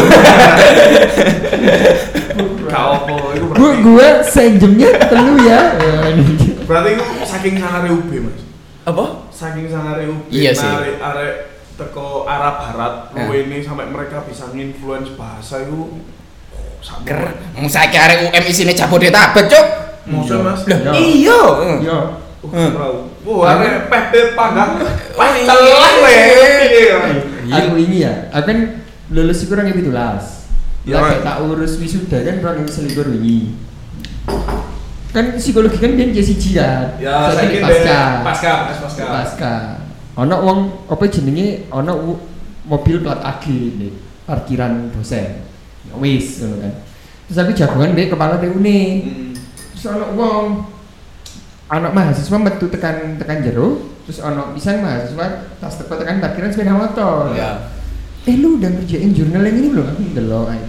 Speaker 5: Gak apa, itu
Speaker 4: Bu,
Speaker 5: berarti.
Speaker 4: gua senjemnya telu ya.
Speaker 5: Berarti itu saking sanare UB, Mas.
Speaker 3: apa
Speaker 5: Saking sanare UB.
Speaker 3: Iya sih.
Speaker 5: Arek arek teko arah barat
Speaker 3: Eh.
Speaker 5: lu ini sampai mereka bisa nginfluence bahasa itu oh, sama.
Speaker 3: Ger, mau saya arek UM isine Jabodetabek, Cuk.
Speaker 5: Masa, Mas?
Speaker 4: Loh,
Speaker 5: Ya.
Speaker 4: i-
Speaker 3: Iya.
Speaker 4: Yo.
Speaker 5: Oh,
Speaker 3: Eh.
Speaker 5: Wow, Wah, arek peh peh panggang. Peh
Speaker 3: iya.
Speaker 5: telan weh. Iya.
Speaker 4: Aku ini ya. Aku kan lulus iku orang 17. Ya
Speaker 5: Ya, Mas.
Speaker 4: tak urus wisuda kan orang yang selikur wingi. Kan psikologi kan biyen jadi jian.
Speaker 5: Ya, saya
Speaker 4: Saiki
Speaker 5: kira
Speaker 4: pasca.
Speaker 5: pasca, Mas, pasca.
Speaker 4: Pasca. Ono wong apa jenenge ono wo- mobil plat AG di parkiran dosen. Ya wis ngono kan. Terus aku jagoan mbek kepala TU ne.
Speaker 5: Hmm.
Speaker 4: terus ono wong anak mahasiswa metu tekan tekan jero terus ono pisang mahasiswa tas teko tekan parkiran sepeda motor eh lu udah ngerjain jurnal yang ini belum aku ndelok ae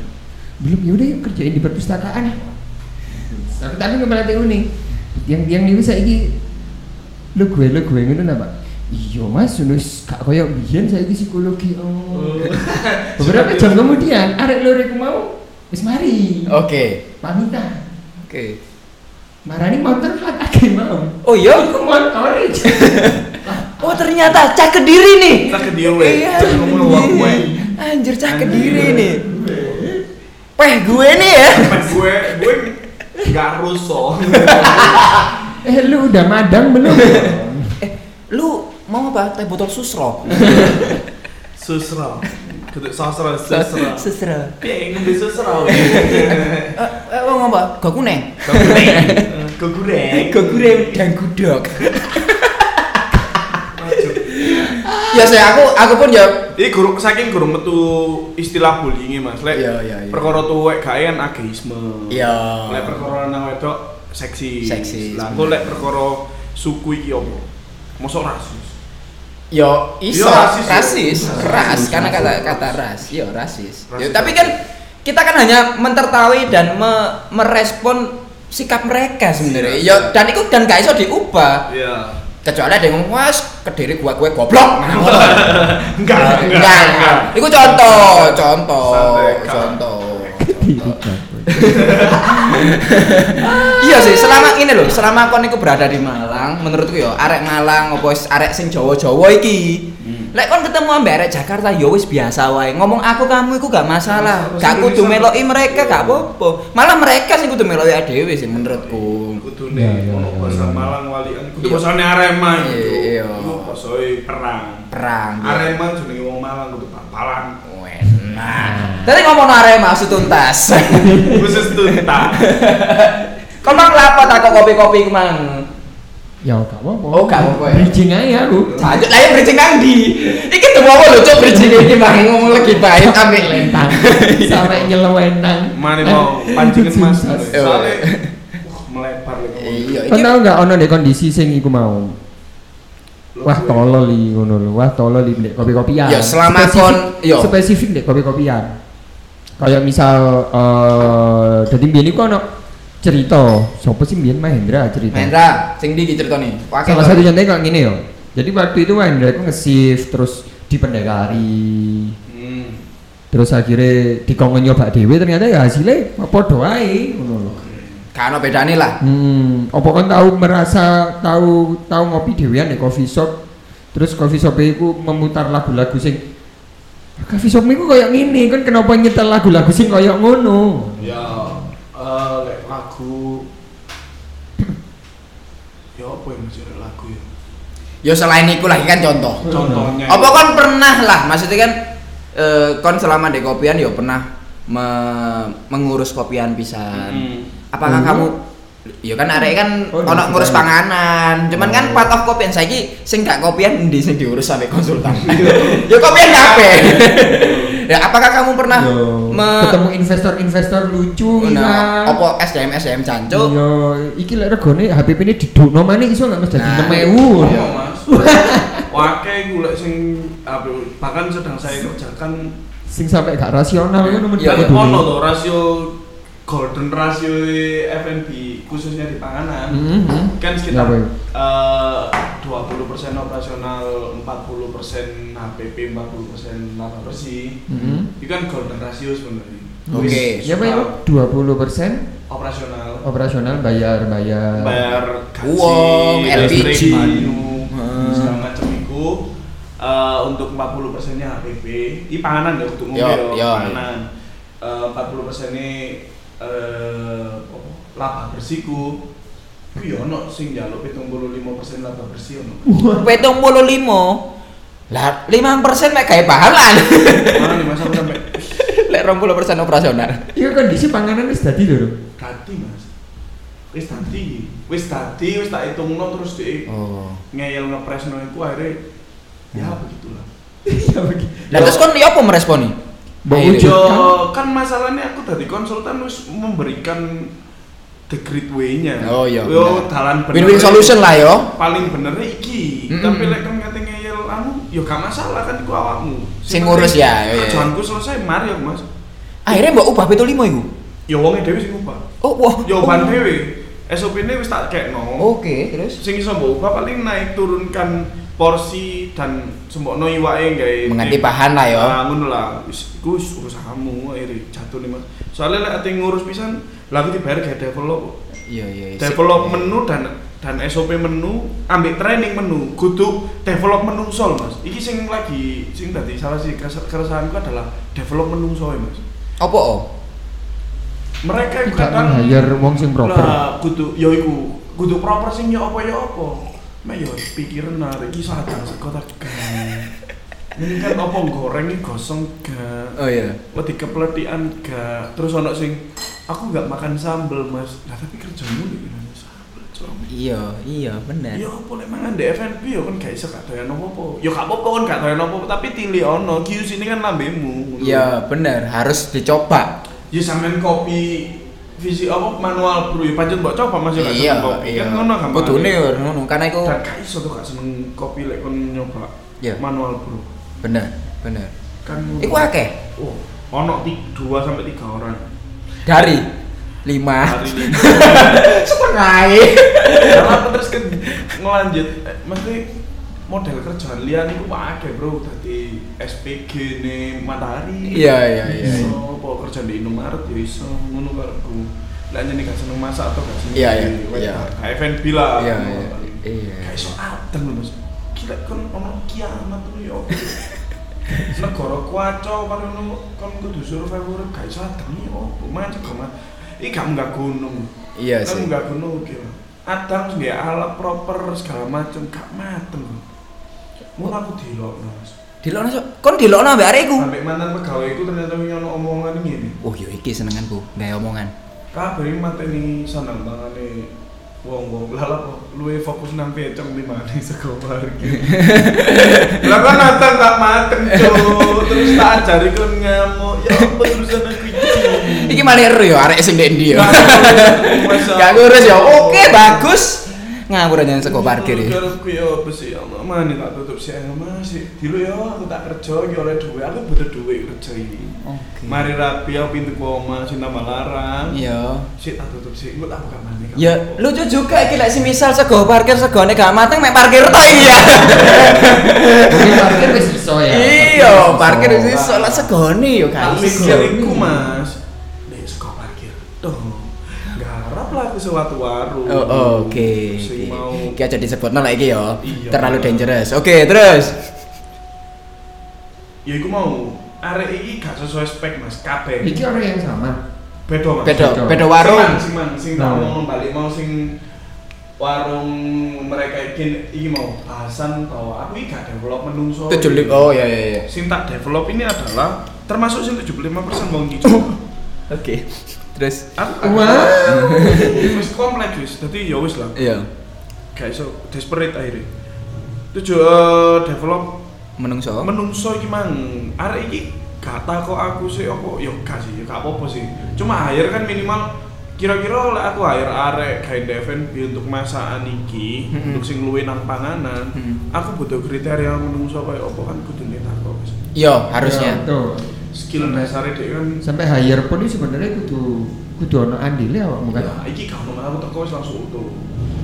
Speaker 4: belum yaudah yuk kerjain di perpustakaan tapi tapi nggak berarti unik yang yang ini saiki lu gue lu gue ngono napa iya mas nulis kak koyok biyen saiki psikologi oh beberapa jam kemudian arek lur iku mau wis mari
Speaker 3: Oke.
Speaker 4: pamitan
Speaker 3: Oke.
Speaker 4: Marani motor kan? plat ake mau.
Speaker 3: Oh iya.
Speaker 4: Aku motor aja.
Speaker 3: Oh ternyata cah kediri nih.
Speaker 5: Kita ke dia weh.
Speaker 3: Iya.
Speaker 5: Jangan ngomong lu aku weh.
Speaker 3: Anjir cah
Speaker 5: Anjir.
Speaker 3: kediri nih. Peh gue nih ya.
Speaker 5: Peh gue gue nggak rusuh.
Speaker 4: Eh lu udah madang belum?
Speaker 3: Eh, lu mau apa? Teh botol susro.
Speaker 5: Susra. Kedek sasra susra.
Speaker 3: Susro.
Speaker 5: Pengen di susra.
Speaker 3: Eh, eh, lu mau apa? Gak kuneng.
Speaker 5: Kegureng. Kegureng.
Speaker 3: dan gudok.
Speaker 5: Maju.
Speaker 3: Ya saya aku aku pun ya
Speaker 5: Iki guru saking guru metu istilah bullying Mas. Lek
Speaker 3: Iya, iya, iya.
Speaker 5: perkara tuwek gawe kan ageisme.
Speaker 3: Iya.
Speaker 5: Lek perkara nang wedok seksi.
Speaker 3: Seksis,
Speaker 5: Lah engko lek perkara suku iki opo? mosok rasis
Speaker 3: Yo, iso
Speaker 5: Yo, rasis, yo.
Speaker 3: rasis, ras
Speaker 5: Rasis,
Speaker 3: karena
Speaker 5: rasis,
Speaker 3: kata
Speaker 5: rasis.
Speaker 3: kata ras, yo rasis. Yo,
Speaker 5: Rasis.
Speaker 3: tapi kan kita kan hanya mentertawi dan me- merespon sikap mereka sebenarnya. Yo, dan itu dan gak iso diubah.
Speaker 5: iya
Speaker 3: Kecuali ada yang ngomong, "Was, kediri gua gue goblok." Nah, ngono.
Speaker 5: enggak
Speaker 3: enggak. Itu contoh, contoh,
Speaker 5: Santai, Kak.
Speaker 3: contoh.
Speaker 4: Diri gue.
Speaker 3: Iya sih, selama ini loh, selama kon iku berada di Malang, menurutku yo arek Malang opo wis arek sing Jawa-Jawa iki.
Speaker 5: Hmm.
Speaker 3: Lek kon ketemu ambek arek Jakarta yo wis biasa wae. Ngomong aku kamu iku gak masalah.
Speaker 5: Terus
Speaker 3: Gak kudu
Speaker 5: Indonesia-
Speaker 3: meloki mereka gak apa-apa. Malah mereka sing kudu meloki awake dhewe sih menurutku.
Speaker 5: kudu
Speaker 4: Iya,
Speaker 5: nih
Speaker 4: iya,
Speaker 5: ono
Speaker 4: iya,
Speaker 5: bahasa
Speaker 4: iya.
Speaker 5: Malang Walian kudu
Speaker 3: Iya.
Speaker 5: bahasane Arema itu
Speaker 3: Iya.
Speaker 5: iku bahasane perang
Speaker 3: Perang. ya.
Speaker 5: Arema jenenge wong Malang kudu papalan
Speaker 3: Nah, tadi ngomong Arema maksud tuntas.
Speaker 5: khusus tuntas
Speaker 3: Kau mang lapo tak kok kopi-kopi ku mang?
Speaker 4: Ya gak apa-apa.
Speaker 3: Oh, gak apa-apa ya.
Speaker 4: Bridging aja aku.
Speaker 3: Lanjut lah ya bridging nang ndi? Iki tuh apa lho cuk bridging iki mang ngomong lagi baik ambek
Speaker 4: Lentang. Sampai nyelewenang.
Speaker 5: mari mau pancingan mas
Speaker 3: Iya.
Speaker 5: soalnya wah, melebar lagi
Speaker 3: Iya,
Speaker 4: Kau
Speaker 3: iki
Speaker 4: tau gak ono deh kondisi sing iku mau? Wah tolol li ngono lho. Wah tolol li ndek kopi-kopian.
Speaker 3: Ya, selama
Speaker 4: Spesifik-
Speaker 3: kon- yo.
Speaker 4: spesifik ndek kopi-kopian. Kayak misal eh dadi mbiyen iku ono cerita. Sopo sih mbiyen Mahendra cerita.
Speaker 3: Mahendra, sing ndi iki ceritane? Wakil
Speaker 4: Salah
Speaker 3: to.
Speaker 4: satu contohnya kayak gini yo. Jadi waktu itu Mahendra aku nge-shift terus dipendekari
Speaker 5: Hmm.
Speaker 4: terus akhirnya dikongkon nyoba dewe ternyata ya hasilnya apa doai ngono lho.
Speaker 3: Gak ono bedane lah.
Speaker 4: Hmm, apa kan tahu merasa tahu tahu ngopi dewean di coffee shop. Terus coffee shop iku memutar lagu-lagu sing "Ah, coffee shop iku koyo ngene, kan kenapa nyetel lagu-lagu sing koyo ngono?
Speaker 5: ya eh lek lagu ya apa yang jadi lagu ya
Speaker 3: Ya selain iku lagi kan contoh.
Speaker 5: contohnya
Speaker 3: Apa kan? kon pernah lah, maksudnya kan eh, kon selama di kopian ya pernah me- mengurus kopian pisan.
Speaker 5: Hmm.
Speaker 3: Apakah
Speaker 4: Oh,
Speaker 3: kamu Ya kan arek kan
Speaker 4: Oh,
Speaker 3: ono
Speaker 4: iya.
Speaker 3: ngurus panganan. Cuman kan part of kopian saiki sing gak kopian ndi sing diurus sampai konsultan. ya kopian kabeh. ya apakah kamu pernah
Speaker 4: Yo,
Speaker 3: me-
Speaker 4: ketemu ya. investor-investor lucu iya.
Speaker 3: Nah,
Speaker 4: misal.
Speaker 3: opo SDM SDM jancuk?
Speaker 4: Yo, iki lek regane HPP ini didukno maneh iso nggak mas jadi
Speaker 3: Nah,
Speaker 4: 6000.
Speaker 5: Iya, mas wakai gue lek sing apa, bahkan sedang saya kerjakan
Speaker 4: Sing sampai gak rasional ngono
Speaker 3: Iya,
Speaker 5: Tapi
Speaker 4: mendadak
Speaker 5: ono
Speaker 4: dulu.
Speaker 5: loh rasio golden rasio F&B khususnya di panganan
Speaker 4: Mhm, mhm.
Speaker 5: kan
Speaker 4: Ya,
Speaker 5: sekitar
Speaker 4: Boy.
Speaker 5: eh, dua puluh operasional 40% HPP 40% laba bersih
Speaker 4: Mhm.
Speaker 5: itu kan golden rasio sebenarnya
Speaker 3: Oke.
Speaker 5: Wis,
Speaker 4: Ya Pak ya,
Speaker 5: uh,
Speaker 4: 20%
Speaker 5: operasional
Speaker 4: operasional bayar-bayar.
Speaker 5: bayar
Speaker 3: Uang,
Speaker 5: listrik,
Speaker 3: LPG.
Speaker 5: banyu,
Speaker 3: Hmm.
Speaker 5: segala macam itu Eh, untuk 40 persennya HPP ini panganan ya untuk
Speaker 3: Yo,
Speaker 5: mobil
Speaker 3: yo.
Speaker 5: panganan Eh, 40 persennya eh, apa, laba bersihku Ku yo ono sing njaluk 75% laba bersih ono.
Speaker 3: Petung puluh limo Lah, lima persen mek gawe bahalan
Speaker 5: Mana nih Mas aku sampe
Speaker 3: Lek rong puluh persen operasional
Speaker 4: Iya kondisi panganan wis dadi lho.
Speaker 5: dadi Mas. Wis dadi, wis dadi, wis tak hitungno terus dhek
Speaker 3: Oh
Speaker 5: ngeyel ngepresno iku akhirnya ya
Speaker 3: Hmm.
Speaker 5: begitulah.
Speaker 4: Iya bagi.
Speaker 3: Lah Nah, terus kon yo apa meresponi?
Speaker 4: Mbok
Speaker 3: Akhirnya.
Speaker 4: wujud.
Speaker 5: Yo,
Speaker 4: Kan-
Speaker 3: Iya.
Speaker 5: kan masalahnya aku dari konsultan wis memberikan the great way-nya.
Speaker 3: Oh, iya,
Speaker 5: Yo
Speaker 3: bener.
Speaker 5: dalan bener.
Speaker 3: Win-win solution lah yo
Speaker 5: Paling benernya iki.
Speaker 3: Mm-mm.
Speaker 5: Tapi lek kan ngate ngeyel anu, yo gak masalah kan iku awakmu.
Speaker 3: Sing ngurus ya, iya, iya.
Speaker 5: Kerjaanku selesai mari aku, Mas.
Speaker 3: Akhirnya mbok ubah petung limo iku
Speaker 5: Yo wonge dhewe sing ubah.
Speaker 3: Oh wah
Speaker 5: Yo ban dhewe. SOP-ne wis tak kekno.
Speaker 3: Oke terus
Speaker 5: Sing iso mbok ubah paling naik turunkan porsi dan sembokno iwake gawe
Speaker 3: Mengganti bahan lah ya. yo
Speaker 5: Nah, ngono lah. Wis iku wis urusanmu akhirnya jatuh nih Mas. Soalnya lek ati ngurus pisan, lha aku dibayar gawe develop.
Speaker 3: Iya iya iya.
Speaker 5: Develop menu dan dan SOP menu, ambil training menu, kudu develop menu sol Mas. Iki sing lagi sing tadi salah sih keres- keresahanku adalah develop menu sol Mas.
Speaker 3: Apa oh?
Speaker 5: Mereka
Speaker 4: Tidak meng-hire wong sing proper.
Speaker 5: Lah, kudu ya iku, kudu proper sing ya apa ya apa. Mek ya pikiran arek iki sadar sekota gak. Ini kan apa goreng ini gosong gak.
Speaker 3: Oh iya
Speaker 5: Wedi kepletian gak. Terus ono sing aku gak makan sambel, Mas. Lah tapi kerjamu nek ngene sambel, Cok.
Speaker 3: Iya iya bener
Speaker 5: Ya apa lek mangan di FNB ya kan gak iso gak doyan apa-apa. Ya gak apa-apa kan gak doyan apa-apa, tapi tili ono QC ini kan lambemu.
Speaker 3: Iya bener harus dicoba
Speaker 5: Ya sampean kopi visi apa manual bro ya pancen mbok coba Mas ya gak
Speaker 3: iya
Speaker 5: seneng kopi.
Speaker 3: iya
Speaker 5: Kan ngono gampang.
Speaker 3: kudune ya ngono karena iku
Speaker 5: Dan gak iso tuh gak seneng kopi lek kon nyoba
Speaker 3: Iya.
Speaker 5: manual bro.
Speaker 3: bener bener
Speaker 5: Kan ngono.
Speaker 3: iku akeh
Speaker 5: Oh, ono 2 sampai 3 orang.
Speaker 3: dari lima
Speaker 5: Hari ini.
Speaker 3: setengah
Speaker 5: Karena aku terus ke ngelanjut eh, mesti model kerjaan lian itu pakai bro tadi SPG nih matahari
Speaker 3: Iya, iya, iya.
Speaker 5: iso apa kerja di Indomaret ya iso ngono karepku lah jadi gak seneng masak atau gak seneng
Speaker 3: Iya, iya,
Speaker 5: di- wes
Speaker 3: iya.
Speaker 5: gak- gak F&B lah
Speaker 3: Iya,
Speaker 5: ngono.
Speaker 3: iya, iya.
Speaker 5: gak iso adem lho mas kira kan ono kiamat tuh ya negara kuaco paling ono kan kudu survive urip gak iso adem ya opo mancing gak mas iki gak munggah gunung
Speaker 3: iya
Speaker 5: kan
Speaker 3: sih
Speaker 5: nggak gunung oke lah Adam nggak alat proper segala macem gak mateng mau aku dilok mas
Speaker 3: dilokno Cuk. kon dilokno ambek arek iku
Speaker 5: sampai mantan pegawai itu ternyata nyono omongan ini
Speaker 3: oh yo iki senenganku gawe ya omongan
Speaker 5: kabeh ini mata ini sanang banget nih wong wong lala kok luwe fokus nang pecong di mana sekolah lah kan Nathan gak mateng cuy terus tak ajari kan ngamuk ya apa urusan aku ini
Speaker 3: iki malah ero yo arek sing ndek ndi yo gak
Speaker 5: Gak
Speaker 3: ngurus yo oke bagus ngawur aja sego parkir ya
Speaker 5: Garapku ya apa sih ya Allah mana tak tutup sih ya masih dulu ya aku tak kerja ya oleh duit aku butuh duit kerja ini.
Speaker 3: oke
Speaker 5: Mari rapi aku pintu koma cinta malarang.
Speaker 3: iya
Speaker 5: Sih tak tutup sih gue tak buka mana. kamu.
Speaker 3: ya lucu juga iki lek semisal sego parkir segone gak mateng mek parkir tok iki ya
Speaker 4: Jadi parkir wis iso ya.
Speaker 3: iya parkir
Speaker 4: iso.
Speaker 3: wis iso lah segone yo
Speaker 5: Tak
Speaker 3: gak
Speaker 5: pikir
Speaker 3: iso
Speaker 5: iku mas. Dek suka parkir. Tuh. Garap lah aku suatu warung.
Speaker 3: Oh, oh, oke.
Speaker 5: Sing mau.
Speaker 3: Iki aja disebutno lah iki yo.
Speaker 5: Iya.
Speaker 3: Terlalu dangerous. Oke, terus.
Speaker 5: Ya iku mau. Arek iki gak sesuai spek mas. Kabeh.
Speaker 4: Iki orang yang sama.
Speaker 5: Beda mas.
Speaker 3: Bedo,
Speaker 4: Bedo.
Speaker 3: bedo warung. Nah.
Speaker 5: Sing mang, sing tak ngomong balik mau sing warung mereka iki iki mau bahasan tau aku iki gak develop menungso.
Speaker 3: 75. Oh, iya iya iya.
Speaker 5: Sing tak develop ini adalah termasuk sing 75% wong Ijo.
Speaker 3: Oke. Terus
Speaker 5: Aku
Speaker 4: Wow.
Speaker 5: wis kompleks wis. Dadi ya wis lah.
Speaker 3: iya,
Speaker 5: Gak iso desperate akhirnya. Tujuh eh, develop
Speaker 3: menungso.
Speaker 5: menungso iki mang arek iki kata kok aku sih apa ya gak sih gak apa-apa sih cuma hire kan minimal kira-kira oleh aku hire arek kayak Devin untuk masakan iki
Speaker 3: Mm-mm.
Speaker 5: untuk sing luwe nang panganan
Speaker 3: Mm.
Speaker 5: aku butuh kriteria menungso kayak apa kan kudu nih takok
Speaker 3: Yo,
Speaker 4: Ya,
Speaker 3: harusnya.
Speaker 4: Tuh.
Speaker 5: skill
Speaker 4: Sampai-
Speaker 5: dasar dia kan
Speaker 4: Sampai hire pun ini sebenarnya kudu kudu ono andile awakmu kan.
Speaker 5: ya iki gak ono aku teko wis langsung utuh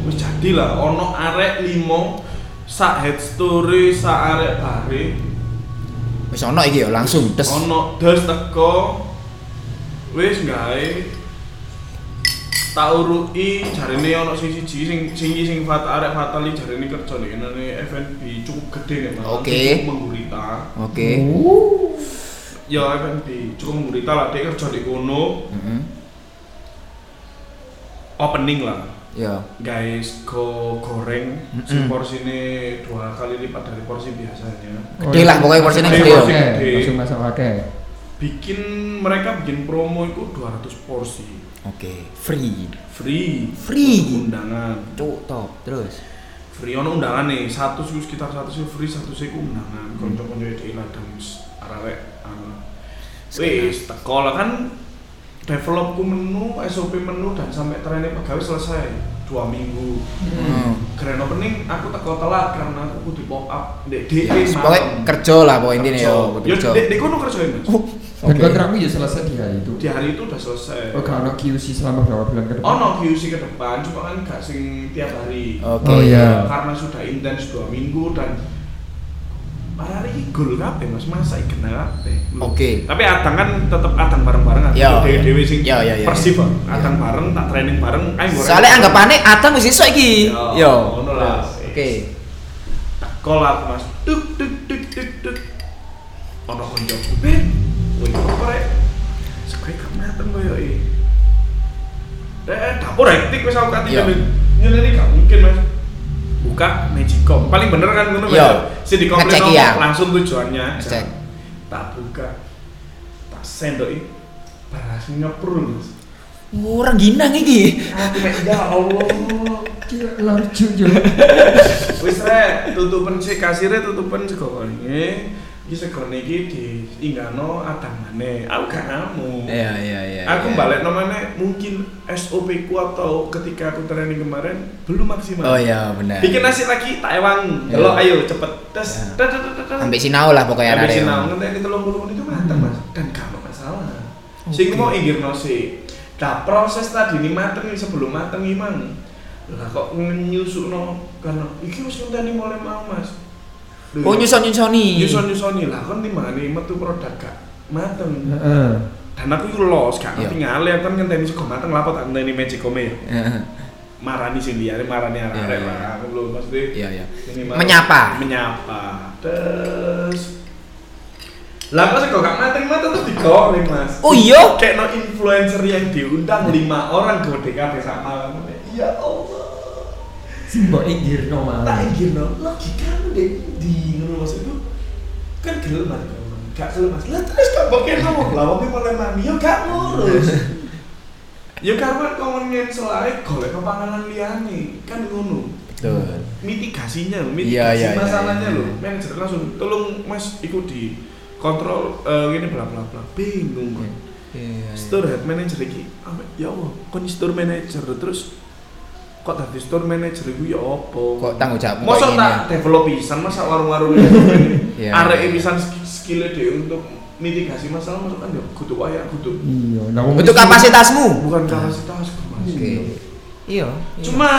Speaker 5: wis jadilah ono arek limo sak head story sak arek bare
Speaker 3: Wis ono iki yo langsung tes.
Speaker 5: ono das teko wis gawe tak urui jarine ono sing siji sing sing sing fat arek fatali jarine kerja nek ngene FNB cukup gede nek Mas.
Speaker 3: Oke.
Speaker 5: cukup menggurita
Speaker 3: Oke.
Speaker 4: Uh.
Speaker 5: ya FNB cukup menggurita lah dia kerja di kono
Speaker 3: Heeh.
Speaker 5: opening lah
Speaker 3: Yo.
Speaker 5: guys go goreng
Speaker 3: Mm-mm.
Speaker 5: si porsi ini dua kali lipat dari porsi biasanya
Speaker 3: Gede lah, pokoknya porsinya
Speaker 5: gede ya.
Speaker 4: Langsung masak wadah.
Speaker 5: bikin mereka bikin promo itu 200 porsi
Speaker 3: Oke. Free.
Speaker 5: free
Speaker 3: Free.
Speaker 5: undangan
Speaker 3: Cuk, top. Terus.
Speaker 5: free ono undangan nih satu sih sekitar satu sih free satu sih undangan konco konco di ladang s- arek anu wis teko lah kan develop ku menu SOP menu dan sampai trennya pegawai selesai dua minggu
Speaker 3: Hmm.
Speaker 5: keren opening aku teko telat karena aku kudu pop up E dek dek
Speaker 3: Ya, wis, pokoknya kerja lah pokoknya intinya yo, kudu
Speaker 5: yo
Speaker 3: kerja.
Speaker 5: dek dek Ya, kono kerjain mas
Speaker 3: Oh,
Speaker 4: Dan
Speaker 3: oke.
Speaker 4: kontrakmu ya selesai di hari itu.
Speaker 5: di hari itu udah selesai
Speaker 4: Oh, kalau ono QC selama berapa bulan ke depan?
Speaker 5: ono QC ke depan cuma kan gak sing tiap hari
Speaker 3: Oke.
Speaker 4: Oh, iya.
Speaker 5: karena sudah intens dua minggu dan para hari ini gol kabeh mas masa ikena kabeh
Speaker 3: Oke.
Speaker 5: tapi adang kan tetep adang bareng-bareng
Speaker 3: Iya.
Speaker 5: dewe dewe sing
Speaker 3: Iya, iya, iya.
Speaker 5: persib adang bareng tak training bareng ayo goreng.
Speaker 3: Soalnya anggapannya Adam wis iso iki.
Speaker 5: Yo,
Speaker 3: Yo.
Speaker 5: Ya, ngono lah.
Speaker 3: Oke.
Speaker 5: Kol aku mas duk duk duk duk duk ono konjoku ben woi apa rek sekali gak mateng koyo iki eh dapur hektik wis aku kati
Speaker 3: Iya.
Speaker 5: nyeleni gak mungkin mas buka magicom paling bener kan ngono
Speaker 3: Iya.
Speaker 5: Mas? si di komplain
Speaker 3: Ngecek
Speaker 5: nomor,
Speaker 3: iya.
Speaker 5: langsung tujuannya aja.
Speaker 3: Ngecek.
Speaker 5: tak buka tak sendoki berhasil nyeprul mas
Speaker 3: Orang ginang iki.
Speaker 5: aku mek ya Allah
Speaker 4: Gila, larju yo.
Speaker 5: wis rek tutupan sik kasire tutupan sego ini iki segone iki diinggano adang maneh. Aku gak ngamuk.
Speaker 3: Iya iya iya.
Speaker 5: aku
Speaker 3: iya.
Speaker 5: balik namanya mungkin SOP ku atau ketika aku training kemarin belum maksimal.
Speaker 3: Oh iya benar.
Speaker 5: Bikin nasi lagi tak ewang.
Speaker 3: Iya.
Speaker 5: Delok ayo cepet. Tes.
Speaker 3: Iya.
Speaker 5: tes, tes, tes, tes.
Speaker 3: Ambek sinau lah pokoknya
Speaker 5: Habis
Speaker 3: arek.
Speaker 5: sinau ngenteni 30 menit itu mateng, Mas. Dan kalau masalah. Sing mau inggirno sih. Nah, proses tadi ini mateng ini sebelum mateng ini mang. Lah kok nyusukno karena iki wis ngenteni mulai mau, Mas. Lho,
Speaker 3: Oh nyusun-nyusoni.
Speaker 5: nyusun-nyusoni lah kan timbangane metu produk gak mateng.
Speaker 4: Heeh.
Speaker 5: Dan aku itu los, gak ngerti ngalih, aku kan ngenteni sego mateng lapor tak ngenteni magicome ya.
Speaker 3: Heeh.
Speaker 5: Marani sing liyane, marani arek-arek
Speaker 3: Iya, iya.
Speaker 5: lah. Aku belum maksudnya
Speaker 3: Iya iya.
Speaker 5: ini malah-
Speaker 3: Menyapa.
Speaker 5: menyapa terus lah kok sih kok gak mateng mateng terus digoreng mas
Speaker 3: Oh iya?
Speaker 5: kayak no influencer yang diundang lima orang ke DKP sama ya Allah
Speaker 4: Sing mbok inggirno
Speaker 5: tak
Speaker 4: malah.
Speaker 5: ingin no logika lu deh di ngono mas itu kan gelem mas gak gelem mas lah terus kok bokeh ngomong lah wong mulai mami yo gak ngurus ya karena ngomongin selare golek kepanganan liyane kan ngono
Speaker 3: Betul.
Speaker 5: mitigasinya,
Speaker 3: Iya,
Speaker 5: mitigasi
Speaker 3: iya, iya,
Speaker 5: masalahnya
Speaker 3: iya.
Speaker 5: loh. Manajer langsung tolong Mas iku di kontrol eh, ini bla bla bla. Bingung kan.
Speaker 3: Iya.
Speaker 5: Store head manager iki. Apa ya Allah, kon store manager terus kok tadi store manager iku ya opo?
Speaker 3: Kok tanggung jawabmu kok
Speaker 5: Mosok
Speaker 3: ini ya?
Speaker 5: tak develop pisan masa warung-warung ini.
Speaker 3: Iya,
Speaker 5: Arek
Speaker 3: iya.
Speaker 5: pisan sk- skillnya dhewe untuk mitigasi masalah masuk kan ya kudu wae kudu
Speaker 4: Iya, lah wong
Speaker 3: Untuk
Speaker 4: wis-
Speaker 3: kapasitasmu.
Speaker 5: bukan kapasitas Mas.
Speaker 3: Oke. Iya. iya.
Speaker 5: cuma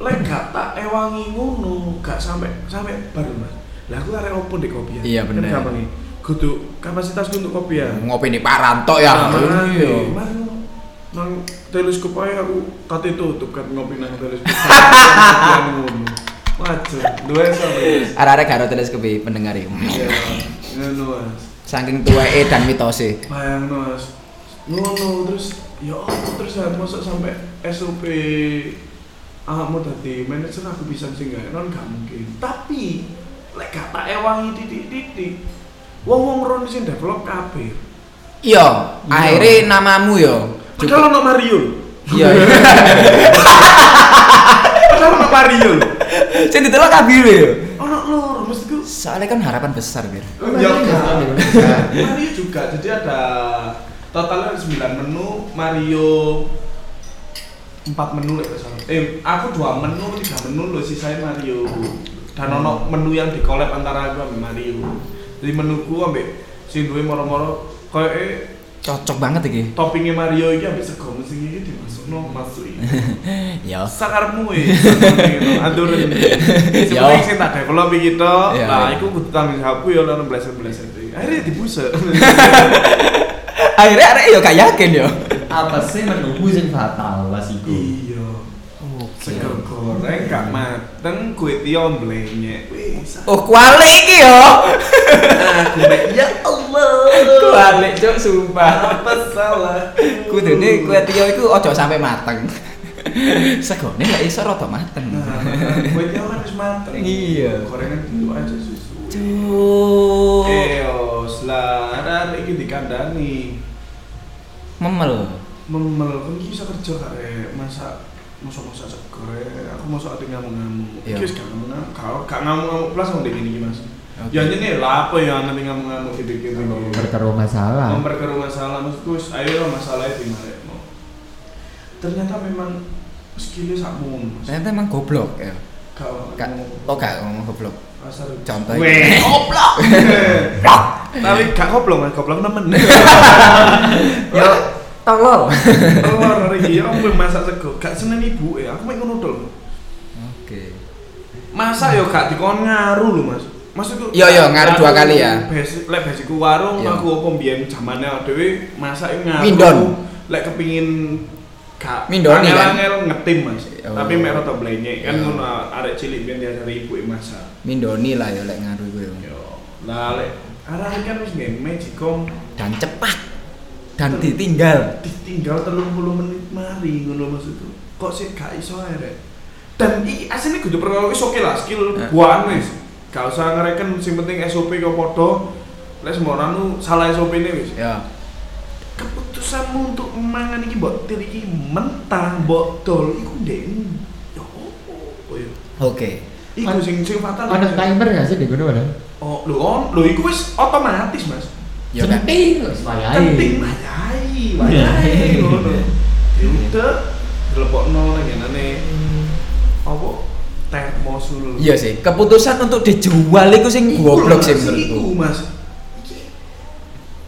Speaker 5: lek gak tak ewangi ngono gak sampai sampai baru mas lah aku arek opo di kopi ya
Speaker 3: Iya, bener.
Speaker 5: kan gampang nih kudu kapasitasku untuk kopi ya
Speaker 3: ngopi di Paranto ya.
Speaker 5: nah,
Speaker 3: Iya.
Speaker 5: iya nang teleskop aja aku kate tutup kan ngopi nang teleskop wajar dua sampai
Speaker 3: Arek-arek gak ada teleskop iki, pendengar iki.
Speaker 5: ya ngono mas
Speaker 3: Saking tuweke dan mitose.
Speaker 5: bayang mas ngono terus ya Allah terus saya masuk sampai SOP ahmu tadi manajer aku bisa sih nggak non gak mungkin tapi lek gak tak ewangi titik titik wong wong ron sing develop kabeh
Speaker 3: Iya, akhirnya namamu yo.
Speaker 5: padahal ono Mario
Speaker 3: Iya.
Speaker 5: padahal ono Mario
Speaker 3: Sing didelok kabeh yo.
Speaker 5: ono lor mestiku
Speaker 3: Soalnya kan harapan besar, Bir.
Speaker 5: ya
Speaker 4: Iya, Mario
Speaker 5: enggak.
Speaker 4: juga.
Speaker 5: Iya. Mario juga jadi ada totalnya ada 9 menu Mario 4 menu lek nggak salah. eh aku dua menu tiga menu loh sisanya Mario dan
Speaker 4: Hmm.
Speaker 5: ono menu yang di collab antara aku sama Mario jadi menuku ambek sing duwe moro-moro kayak
Speaker 3: Cocok banget iki.
Speaker 5: toppingnya Mario ini ambek sego mesti ini dimasuk no masuk ini
Speaker 3: Yo.
Speaker 5: sakarmu ya atur
Speaker 3: Yo.
Speaker 5: sebenarnya sing tak develop iki to
Speaker 3: Iya,
Speaker 5: nah
Speaker 3: iya.
Speaker 5: iku kudu tanggung jawabku ya lan bleser-bleser iki akhirnya dibusek
Speaker 3: Akhirnya arek yo gak yakin ya. yo.
Speaker 4: Apa sih menunggu sing fatal lah siku.
Speaker 5: Iya. Sego goreng gak mateng kue tiom blenyek. Wis.
Speaker 3: Oh, kuali iki yo.
Speaker 5: Aku mek ya Allah.
Speaker 3: Kuali cuk sumpah.
Speaker 5: Apa salah?
Speaker 3: Kudune kue tiyo iku ojo sampe mateng. Segone lek iso rada mateng.
Speaker 5: Nah, kue tiom kan harus mateng.
Speaker 3: Iya.
Speaker 5: Gorengan dulu aja susu.
Speaker 3: Cuk.
Speaker 5: Eos lah, ada iki dikandani.
Speaker 3: Memel.
Speaker 5: Memel kan iki iso kerja gak rek, masak masa-masa sego rek. Aku masak ati ngamuk-ngamuk.
Speaker 3: Iya.
Speaker 5: Iki wis gak ngamuk, gak- gak ngamuk-ngamuk plus ngene iki Mas.
Speaker 3: Oke.
Speaker 5: Ya ini lah apa ya nanti ngamuk-ngamuk gitu-gitu.
Speaker 4: Berkeruh masalah.
Speaker 5: memperkeruh masalah maksudku wis, ayo lah masalahnya di mana mau ternyata memang skillnya sakmu mas
Speaker 3: Ternyata emang goblok ya.
Speaker 5: kau
Speaker 3: Kak, oh gak ngomong goblok.
Speaker 5: pasar
Speaker 3: Contoh
Speaker 5: Weh,
Speaker 3: iki.
Speaker 5: goblok tapi gak goblok kan goblok nemen
Speaker 3: Yo, tolol.
Speaker 5: telur hari ini ya aku masak sego gak seneng ibu ya aku mau ngono dol
Speaker 3: Oke.
Speaker 5: masak yo gak dikon ngaruh lho mas Maksudku,
Speaker 3: Iya, iya, ngaruh dua kali ya.
Speaker 5: Basic, lek basicku warung,
Speaker 3: Iya.
Speaker 5: aku apa mbiyen zamane dhewe masak iku ngaruh.
Speaker 3: Mindon.
Speaker 5: Lek kepingin gak
Speaker 3: Mindoni, kan?
Speaker 5: angel-angel ngetim Mas.
Speaker 3: Oh.
Speaker 5: Tapi mek rada blenyek kan
Speaker 3: Iya.
Speaker 5: ngono arek cilik biyen diajari ibu masak.
Speaker 3: Mindoni lah yo lek ngaruh iku yo.
Speaker 5: Yo. Lah lek arek kan wis nggih magicom
Speaker 3: Dan cepat. Dan ditinggal.
Speaker 5: ditinggal 30 menit mari ngono maksudku. Kok sih gak iso ae rek. Dan iki asline kudu perkara wis oke lah skill
Speaker 3: Eh.
Speaker 5: buan wis. Gak usah ngereken sing penting SOP kok padha. Lek sembarang salah SOP-ne wis.
Speaker 3: Ya.
Speaker 5: keputusanmu untuk mangan iki mbok tir iki mentah mbok dol iku ndekmu ya opo ya
Speaker 3: Oke.
Speaker 5: Iku
Speaker 4: An-
Speaker 5: sing sing fatal.
Speaker 4: Ono timer nggak sih di gunung ada?
Speaker 5: Oh, lho on, lho iku wis otomatis, Mas.
Speaker 3: Ya kan?
Speaker 4: Penting, terus wayai.
Speaker 5: Penting
Speaker 4: Iya.
Speaker 5: wayai, wayai ngono. Ya udah gitu. dilebokno nang ngene.
Speaker 4: Hmm.
Speaker 5: Apa termosul.
Speaker 3: Iya sih, keputusan untuk dijual itu sing
Speaker 5: Iku
Speaker 3: goblok
Speaker 5: lho,
Speaker 3: sih
Speaker 5: Mas, Iku,
Speaker 3: menurutku.
Speaker 5: Mas. Iki.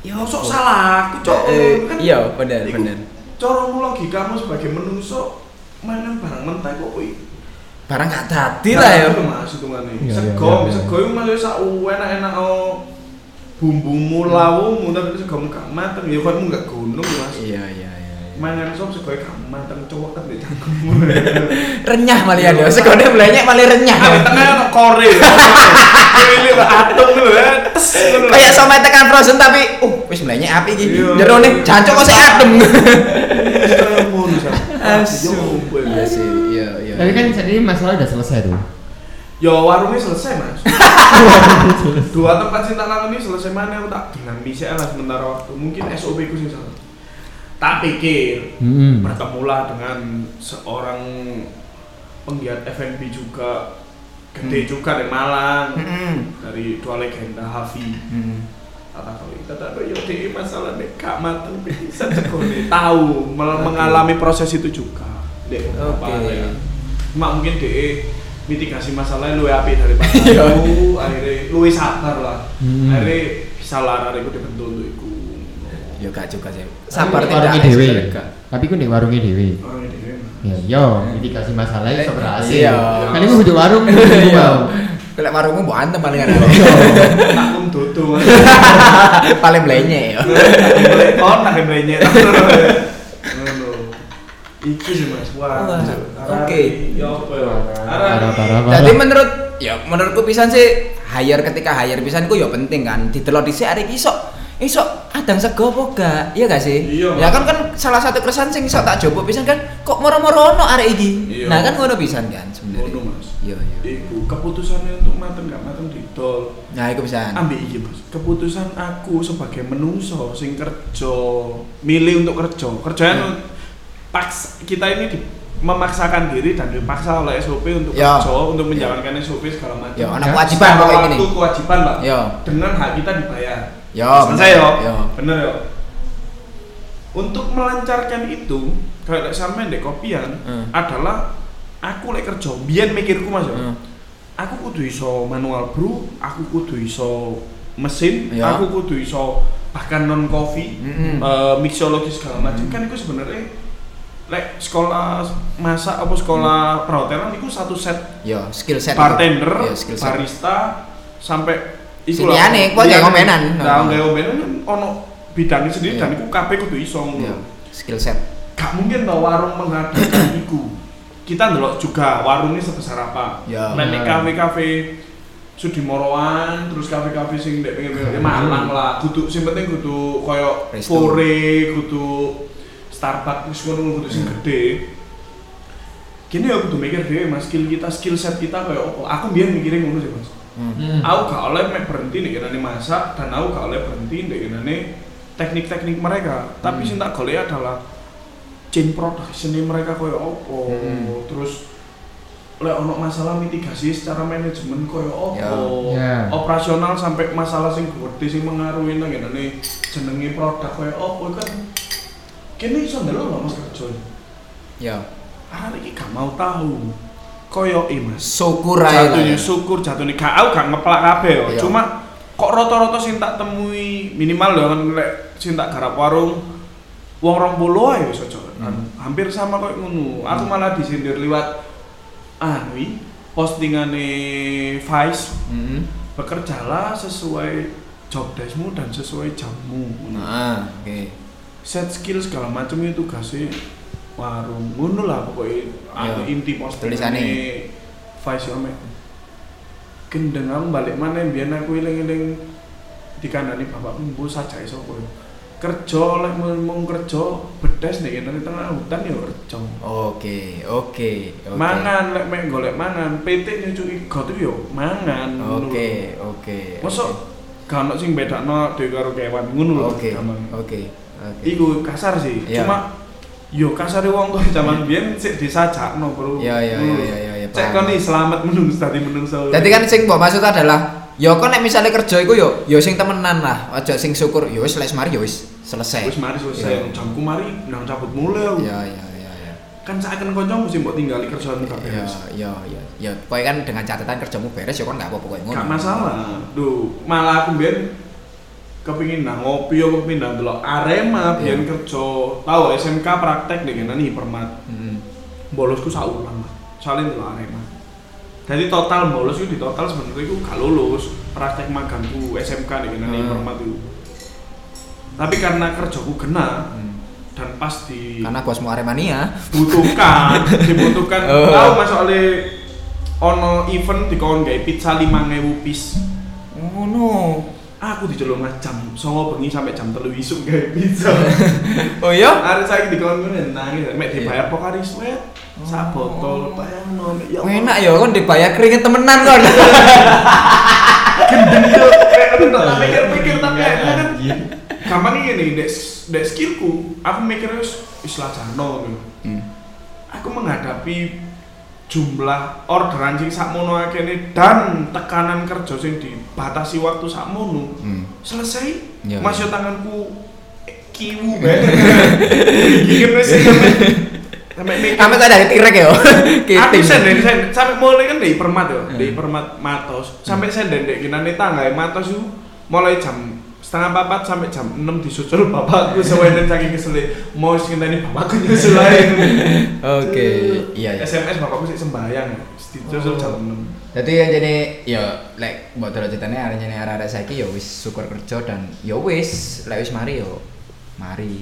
Speaker 5: Ya sok salah aku, Cok.
Speaker 3: Eh,
Speaker 5: Kan
Speaker 3: iya, bener,
Speaker 5: iku
Speaker 3: bener.
Speaker 5: Caramu logikamu sebagai menungso mainan barang mentah kok kuwi.
Speaker 3: Barang gak dadi lah ya.
Speaker 5: Nah, Mas hitungane.
Speaker 4: Iya, iya,
Speaker 5: Sego,
Speaker 4: iya, iya.
Speaker 5: sego iku Mas ya sak enak-enak o bumbumu lawumu tapi sego gak mateng ya koyo gak gunung Mas.
Speaker 3: Iya, iya, iya. iya.
Speaker 5: Mainan sop sego gak mateng cowok kan di cangkemmu.
Speaker 3: Renyah malah ya, sekode belanya malah renyah.
Speaker 5: Ah, di tengah ono kore. Ini lho atom lho. eh, tes, ngono lho.
Speaker 3: Kayak sama tekan frozen tapi uh wis belanya api iki.
Speaker 5: Iya.
Speaker 3: Jero nih jancuk kok sih adem.
Speaker 5: Cangkemmu, Sat.
Speaker 3: Asu.
Speaker 5: Ya ampun.
Speaker 3: Iya sih, iya, iya.
Speaker 4: Tapi kan jadi masalah udah selesai tuh.
Speaker 5: Ya warungnya selesai mas Dua tempat cinta kangen ini selesai mana aku tak dengan bisa lah sementara waktu Mungkin SOP ku sih salah Tak pikir
Speaker 4: Hmm.
Speaker 5: Bertemulah dengan seorang penggiat F&B juga
Speaker 3: Hmm.
Speaker 5: Gede juga dari Malang
Speaker 3: Mm-mm.
Speaker 5: Dari dua legenda Hafi
Speaker 3: Hmm.
Speaker 5: Tata kali tata kali ini masalah dek kak mateng bisa cekone Tahu mel- mengalami proses itu juga Dek beberapa
Speaker 3: Oke.
Speaker 5: area. Cuma mungkin dek mitigasi masalahnya luwe api daripada
Speaker 3: Iya.
Speaker 5: aku akhirnya luwe sabar lah
Speaker 4: Hmm.
Speaker 5: akhirnya bisa lara iku dibentuk untuk iku Iya.
Speaker 3: Yo gak juga sih. Sabar
Speaker 4: Tapi
Speaker 3: tidak
Speaker 4: warungnya
Speaker 3: ada
Speaker 4: dewe.
Speaker 3: selega.
Speaker 4: Tapi ku di warungnya dewe.
Speaker 5: orang ini dhewe, Mas.
Speaker 4: Ya, yo, mitigasi masalah Kan itu berhasil.
Speaker 3: Iya.
Speaker 4: Kali ku butuh warung, ku butuh
Speaker 3: Iya.
Speaker 4: warung.
Speaker 3: Kelek warungmu mbok antem paling kan.
Speaker 5: tak um dodo Mas.
Speaker 3: Paling blenyek ya.
Speaker 5: Boleh kon tak mrenyek ngono iki sih Mas
Speaker 3: Wah,
Speaker 5: wah
Speaker 3: oke.
Speaker 5: ya apa ya
Speaker 4: Parah, parah, parah.
Speaker 3: Jadi menurut ya menurutku pisan sih hire ketika hire pisan ku ya penting kan. Ditelok dhisik arek isok isok adang sego apa gak? Iya gak sih?
Speaker 5: Iya,
Speaker 3: ya
Speaker 5: Mas.
Speaker 3: kan kan salah satu keresan sing isok tak jopo pisan kan kok moro-moro ono arek iki.
Speaker 5: Iya.
Speaker 3: Nah kan ngono pisan kan sebenarnya.
Speaker 5: Ngono, Mas.
Speaker 3: Iya iya.
Speaker 5: Iku keputusannya untuk mateng gak mateng didol.
Speaker 3: Nah iku pisan.
Speaker 5: Ambil iki mas. Keputusan aku sebagai menungso sing kerja, milih untuk kerja. Kerjaan
Speaker 3: Ya.
Speaker 5: paks kita ini di- memaksakan diri dan dipaksa oleh SOP untuk
Speaker 3: Ya.
Speaker 5: kerja, untuk menjalankan SOP segala macam.
Speaker 3: Ya ana
Speaker 4: Ya,
Speaker 3: kewajiban
Speaker 5: Secara
Speaker 3: pokoknya
Speaker 5: waktu
Speaker 3: gini.
Speaker 5: kewajiban pak.
Speaker 3: Ya.
Speaker 5: Dengan hak kita dibayar.
Speaker 3: Ya,
Speaker 5: Selesai
Speaker 3: bener.
Speaker 5: yo.
Speaker 3: Ya.
Speaker 5: Bener yo. Untuk melancarkan itu, kalau lek sampean dek kopian
Speaker 3: Hmm.
Speaker 5: adalah aku lek kerja biyen mikirku Mas yo.
Speaker 3: Hmm.
Speaker 5: Aku kudu iso manual brew, aku kudu iso mesin,
Speaker 3: Ya. Hmm.
Speaker 5: aku kudu iso bahkan non coffee,
Speaker 3: Mm-mm.
Speaker 5: eh, mixologi segala
Speaker 3: Hmm.
Speaker 5: macam kan itu sebenarnya lek sekolah masak apa
Speaker 3: Hmm.
Speaker 5: sekolah perhotelan itu satu set
Speaker 3: Yo skill set.
Speaker 5: bartender,
Speaker 3: Yo skill set.
Speaker 5: barista, sampai
Speaker 3: Siniane, kuwi gak ngomenan.
Speaker 5: Nah, gak ngomenan kan ono bidangnya sendiri
Speaker 3: Iya.
Speaker 5: dan iku kabeh kudu iso
Speaker 3: Yo
Speaker 5: ngono.
Speaker 3: Hmm. skill set.
Speaker 5: Gak mungkin tau warung mengadakan iku. Kita ndelok juga warungnya sebesar apa.
Speaker 3: Ya.
Speaker 5: Nek nek kafe-kafe Sudimoroan, terus kafe-kafe sing ndek pengen-pengen Malang lah. Kudu sing penting kudu koyo
Speaker 3: Hmm. Resto.
Speaker 5: Fore, kudu Starbucks wis ngono kudu
Speaker 3: Hmm.
Speaker 5: sing gede. Gini ya kudu mikir dhewe Mas, skill kita, skill set kita koyo apa. Aku biyen mikire ngono sih, Mas.
Speaker 4: Hmm.
Speaker 5: Aku gak oleh mek berhenti nek kenane masak dan aku gak oleh berhenti nek kenane teknik-teknik mereka. Tapi sing tak golek adalah chain production e mereka koyo apa.
Speaker 3: Hmm.
Speaker 5: Terus oleh ono masalah mitigasi secara manajemen koyo apa.
Speaker 4: Ya.
Speaker 5: Operasional sampai masalah sing gede sing mengaruhi nang kenane jenenge produk koyo apa kan. Kene iso ndelok lho Mas kerja.
Speaker 3: Yo.
Speaker 5: Hari iki gak mau tahu. Koyo e, Mas
Speaker 3: Syukur ae. lah
Speaker 5: jatuhnya
Speaker 3: ya.
Speaker 5: syukur jatuhnya gak aku gak ngeplak kabeh yo.
Speaker 3: Iya.
Speaker 5: cuma kok rata-rata sing tak temui minimal lho kan lek sing tak garap warung wong rong puluh ae wis aja
Speaker 3: Hmm.
Speaker 5: hampir sama kok ngono aku malah disindir liwat anu i, postingane Vice
Speaker 3: Heeh.
Speaker 5: bekerjalah sesuai job deskmu dan sesuai jammu
Speaker 3: Nah, oke.
Speaker 5: set skill segala macam itu tugasnya warung ngono lah pokoknya anu
Speaker 3: Iya.
Speaker 5: inti posting
Speaker 3: Tulisane.
Speaker 5: ini Vice yo mek gendeng aku balik mana biar aku iling-iling dikandani bapak mbu saja iso kowe ya. kerja oleh mung kerja bedes nih nanti tengah hutan ya kerja
Speaker 3: Oke, oke, Ya, oke.
Speaker 5: mangan lek mek golek mangan PT nyucuki got itu yo mangan ngono
Speaker 3: Oke,
Speaker 5: lho.
Speaker 3: oke.
Speaker 5: Mosok gak ono sing bedakno dhewe karo kewan ngono lho
Speaker 3: Oke,
Speaker 5: gampangnya.
Speaker 3: oke, oke.
Speaker 5: Iku kasar sih.
Speaker 3: Iya.
Speaker 5: Cuma yo kasar wong tuh zaman biyen sik disajakno, Bro. Hmm.
Speaker 3: Ya, ya, ya, ya, ya, ya,
Speaker 5: Cek kon nih selamat menungso dadi menungso.
Speaker 3: Jadi kan sing mbok maksud adalah ya kok nek misalnya kerja iku yo yo sing temenan lah, aja sing syukur yo wis les mari yo wis selesai.
Speaker 5: wis mari
Speaker 3: Iya.
Speaker 5: selesai jamku mari nang cabut mulai. aku.
Speaker 3: Ya ya ya ya.
Speaker 5: Kan saken kancamu sih mbok tinggali kerjaan kabeh.
Speaker 3: Ya ya ya. Ya pokoknya kan dengan catatan kerjamu beres ya kan enggak apa-apa koyo ngono.
Speaker 5: Gak masalah. Duh, malah aku ben kepingin nang ngopi aku kepingin nang delok Arema
Speaker 3: Iya.
Speaker 5: biyen kerja. Tahu SMK praktek dengan nang hipermat.
Speaker 3: Heeh.
Speaker 5: Bolosku saulang, salin delok Arema. Jadi total bolos itu di total sebenarnya aku gak lulus praktek magangku SMK dengan nang
Speaker 3: Hmm.
Speaker 5: hipermat itu. Tapi karena kerjaku kena
Speaker 3: Hmm.
Speaker 5: dan pas di
Speaker 3: Karena bosmu Aremania.
Speaker 5: butuhkan dibutuhkan
Speaker 3: Oh.
Speaker 5: tahu mas oleh ono event di kawan gay pizza lima ngewu pis
Speaker 3: Oh no.
Speaker 5: aku diceluk mas jam songo bengi sampai jam telu isuk gawe pizza
Speaker 3: Oh iya.
Speaker 5: arek saiki dikon ngene nangis mek dibayar
Speaker 3: Iya.
Speaker 5: pok ari suwet sak botol bayangno mek ya
Speaker 3: Oh. Enak ya kon dibayar keringet temenan kan? kon.
Speaker 4: Iya,
Speaker 5: tak
Speaker 3: Iya,
Speaker 5: pikir-pikir tapi akhirnya kan gampang ngene dek dek skillku aku mikirnya wis wis lajano ngono.
Speaker 3: Hmm,
Speaker 5: aku menghadapi jumlah orderan sing sakmono akene dan tekanan kerja sing dibatasi waktu sakmono
Speaker 3: Hmm.
Speaker 5: selesai
Speaker 3: Ya.
Speaker 5: mas yo tanganku eh, kiwu banget gimana sih sampe- sampe mikir.
Speaker 3: Sampai tak ada tirek ya.
Speaker 5: aku
Speaker 3: Kiting.
Speaker 5: senden senden sampai mulai kan dari permat yo
Speaker 3: Hmm.
Speaker 5: dari permat matos sampai senden dek kinane tangga matos itu mulai jam setengah papat sampai jam enam disusul bapakku sewenang saking kesele mau sing ini bapakku nyusul lain
Speaker 3: Oke. Iya Oh. iya.
Speaker 5: SMS bapakku sih sembayang disusul jam 6
Speaker 3: Jadi yang jadi ya lek mbok delok critane arek nyene arek-arek saiki ya wis syukur kerja dan ya wis lek wis mari yo mari.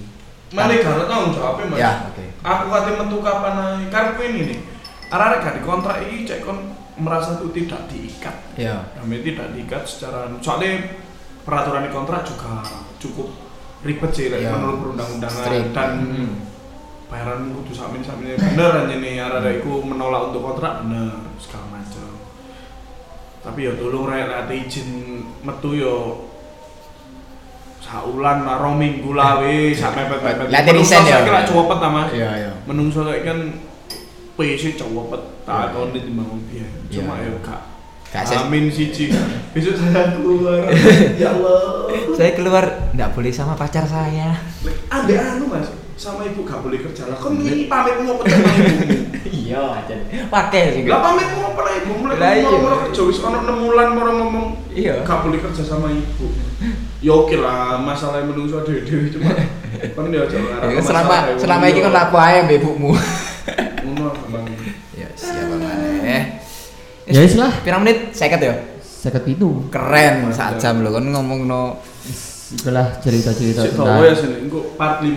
Speaker 5: Mari gak tau jawabnya mas
Speaker 3: Ya, oke.
Speaker 5: Aku kate metu kapan ae Karena aku ini nih Arah-arah gak dikontrak ini cek kon merasa itu tidak diikat
Speaker 3: Ya.
Speaker 5: Namanya tidak diikat secara Soalnya peraturan di kontrak juga cukup ribet sih like,
Speaker 3: Ya.
Speaker 5: menurut perundang-undangan
Speaker 3: Strict.
Speaker 5: dan
Speaker 3: Hmm.
Speaker 5: bayaran kudu sakmin sakmin bener aja nih
Speaker 3: Hmm.
Speaker 5: arah-arah iku menolak untuk kontrak bener segala macam tapi ya tolong rakyat rakyat izin metu yo saulan lah rong minggu lah
Speaker 3: Eh,
Speaker 5: we sampai pepet pepet
Speaker 3: Lah, dari sen ya.
Speaker 5: kira cowopet sama
Speaker 3: Iya iya.
Speaker 5: menungso kayak kan PC cowopet tak
Speaker 3: Iya.
Speaker 5: tahun di dibangun dia cuma
Speaker 3: Iya.
Speaker 5: ya kak
Speaker 3: Gak ses-
Speaker 5: Amin siji besok saya keluar ya Allah
Speaker 3: Saya keluar nggak boleh sama pacar saya.
Speaker 5: ada anu mas sama ibu gak boleh kerja lah kan ini pamit mau kerja sama ibu
Speaker 3: iya aja. Pakai sih.
Speaker 5: lah pamit mau pernah ibu mulai
Speaker 3: Lah, iya.
Speaker 5: ngomong kerja wis ono enam bulan mau ngomong
Speaker 3: Iya.
Speaker 5: gak boleh kerja sama ibu ya oke lah masalah menungso dewi dewi cuma kan dia aja ngarang
Speaker 3: Ya,
Speaker 5: masalah
Speaker 3: selama
Speaker 5: dewe.
Speaker 3: selama ini kan lapo ae mbek ibumu.
Speaker 5: ngono lah, Bang.
Speaker 3: Ya siapa maneh.
Speaker 4: Ya wis lah.
Speaker 3: Eh. Pirang menit? 50 ya.
Speaker 4: Seket itu.
Speaker 3: Keren sak jam lho kon ngomongno
Speaker 4: Itulah cerita-cerita
Speaker 5: Sik
Speaker 4: tentang
Speaker 5: tahu ya sini engko part 15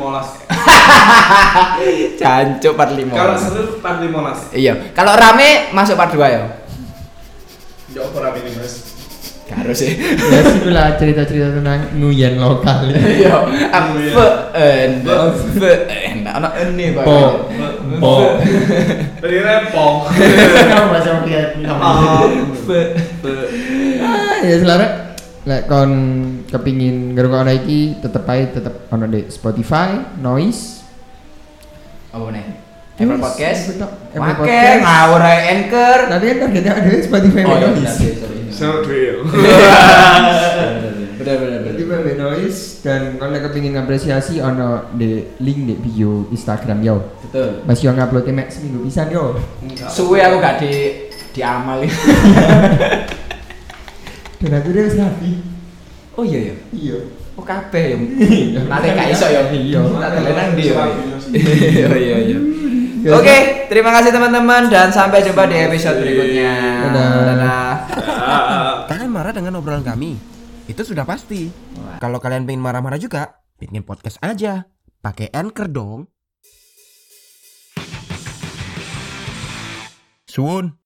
Speaker 3: jancuk part
Speaker 5: kalau
Speaker 3: 5.
Speaker 5: seru part 15
Speaker 3: Iya, kalau rame masuk part 2 ya.
Speaker 5: ya apa rapi nih mas
Speaker 3: Gak harus sih.
Speaker 4: Ya wis, itulah cerita-cerita tentang nguyen lokal.
Speaker 3: Iya,
Speaker 5: Iya.
Speaker 3: apa enak, apa enak, anak ini pak.
Speaker 4: Po. Po.
Speaker 5: tadi repong
Speaker 4: Kamu bahasa Melayu.
Speaker 3: Iya.
Speaker 4: Ah, ya selare lek kon kepingin ngerungokno iki tetep ae tetep ono di Spotify, Noise,
Speaker 3: Apa nih? Apple
Speaker 4: Wis,
Speaker 3: Podcast.
Speaker 4: Apple Talk, Apple
Speaker 3: Make
Speaker 4: Podcast.
Speaker 3: ngawur ae anchor.
Speaker 4: Tapi kan targetnya ada di Spotify
Speaker 3: Oh iya,
Speaker 4: Noise.
Speaker 3: sorry, sorry.
Speaker 5: seru deal
Speaker 3: Bener bener
Speaker 4: Jadi
Speaker 3: bener.
Speaker 4: Mbak Noise dan kalau kepingin apresiasi ono di link di bio Instagram yo.
Speaker 3: Betul.
Speaker 4: Mas yo ngupload mek seminggu pisan yo.
Speaker 3: Suwe aku gak di diamalin.
Speaker 4: Dan aku dia wis rapi.
Speaker 3: Oh iya ya.
Speaker 4: Iya.
Speaker 3: Oh kabeh ya. Nanti gak iso ya.
Speaker 4: Iya.
Speaker 3: Nanti lenang di ya.
Speaker 5: Suwe.
Speaker 3: Iya iya iya. Oke, terima kasih teman-teman dan sampai jumpa di episode berikutnya.
Speaker 4: Dadah.
Speaker 3: Dadah.
Speaker 5: Ah.
Speaker 2: Kalian marah dengan obrolan kami? Itu sudah pasti. Kalau kalian pengen marah-marah juga, bikin podcast aja. Pakai Anchor dong. Suun.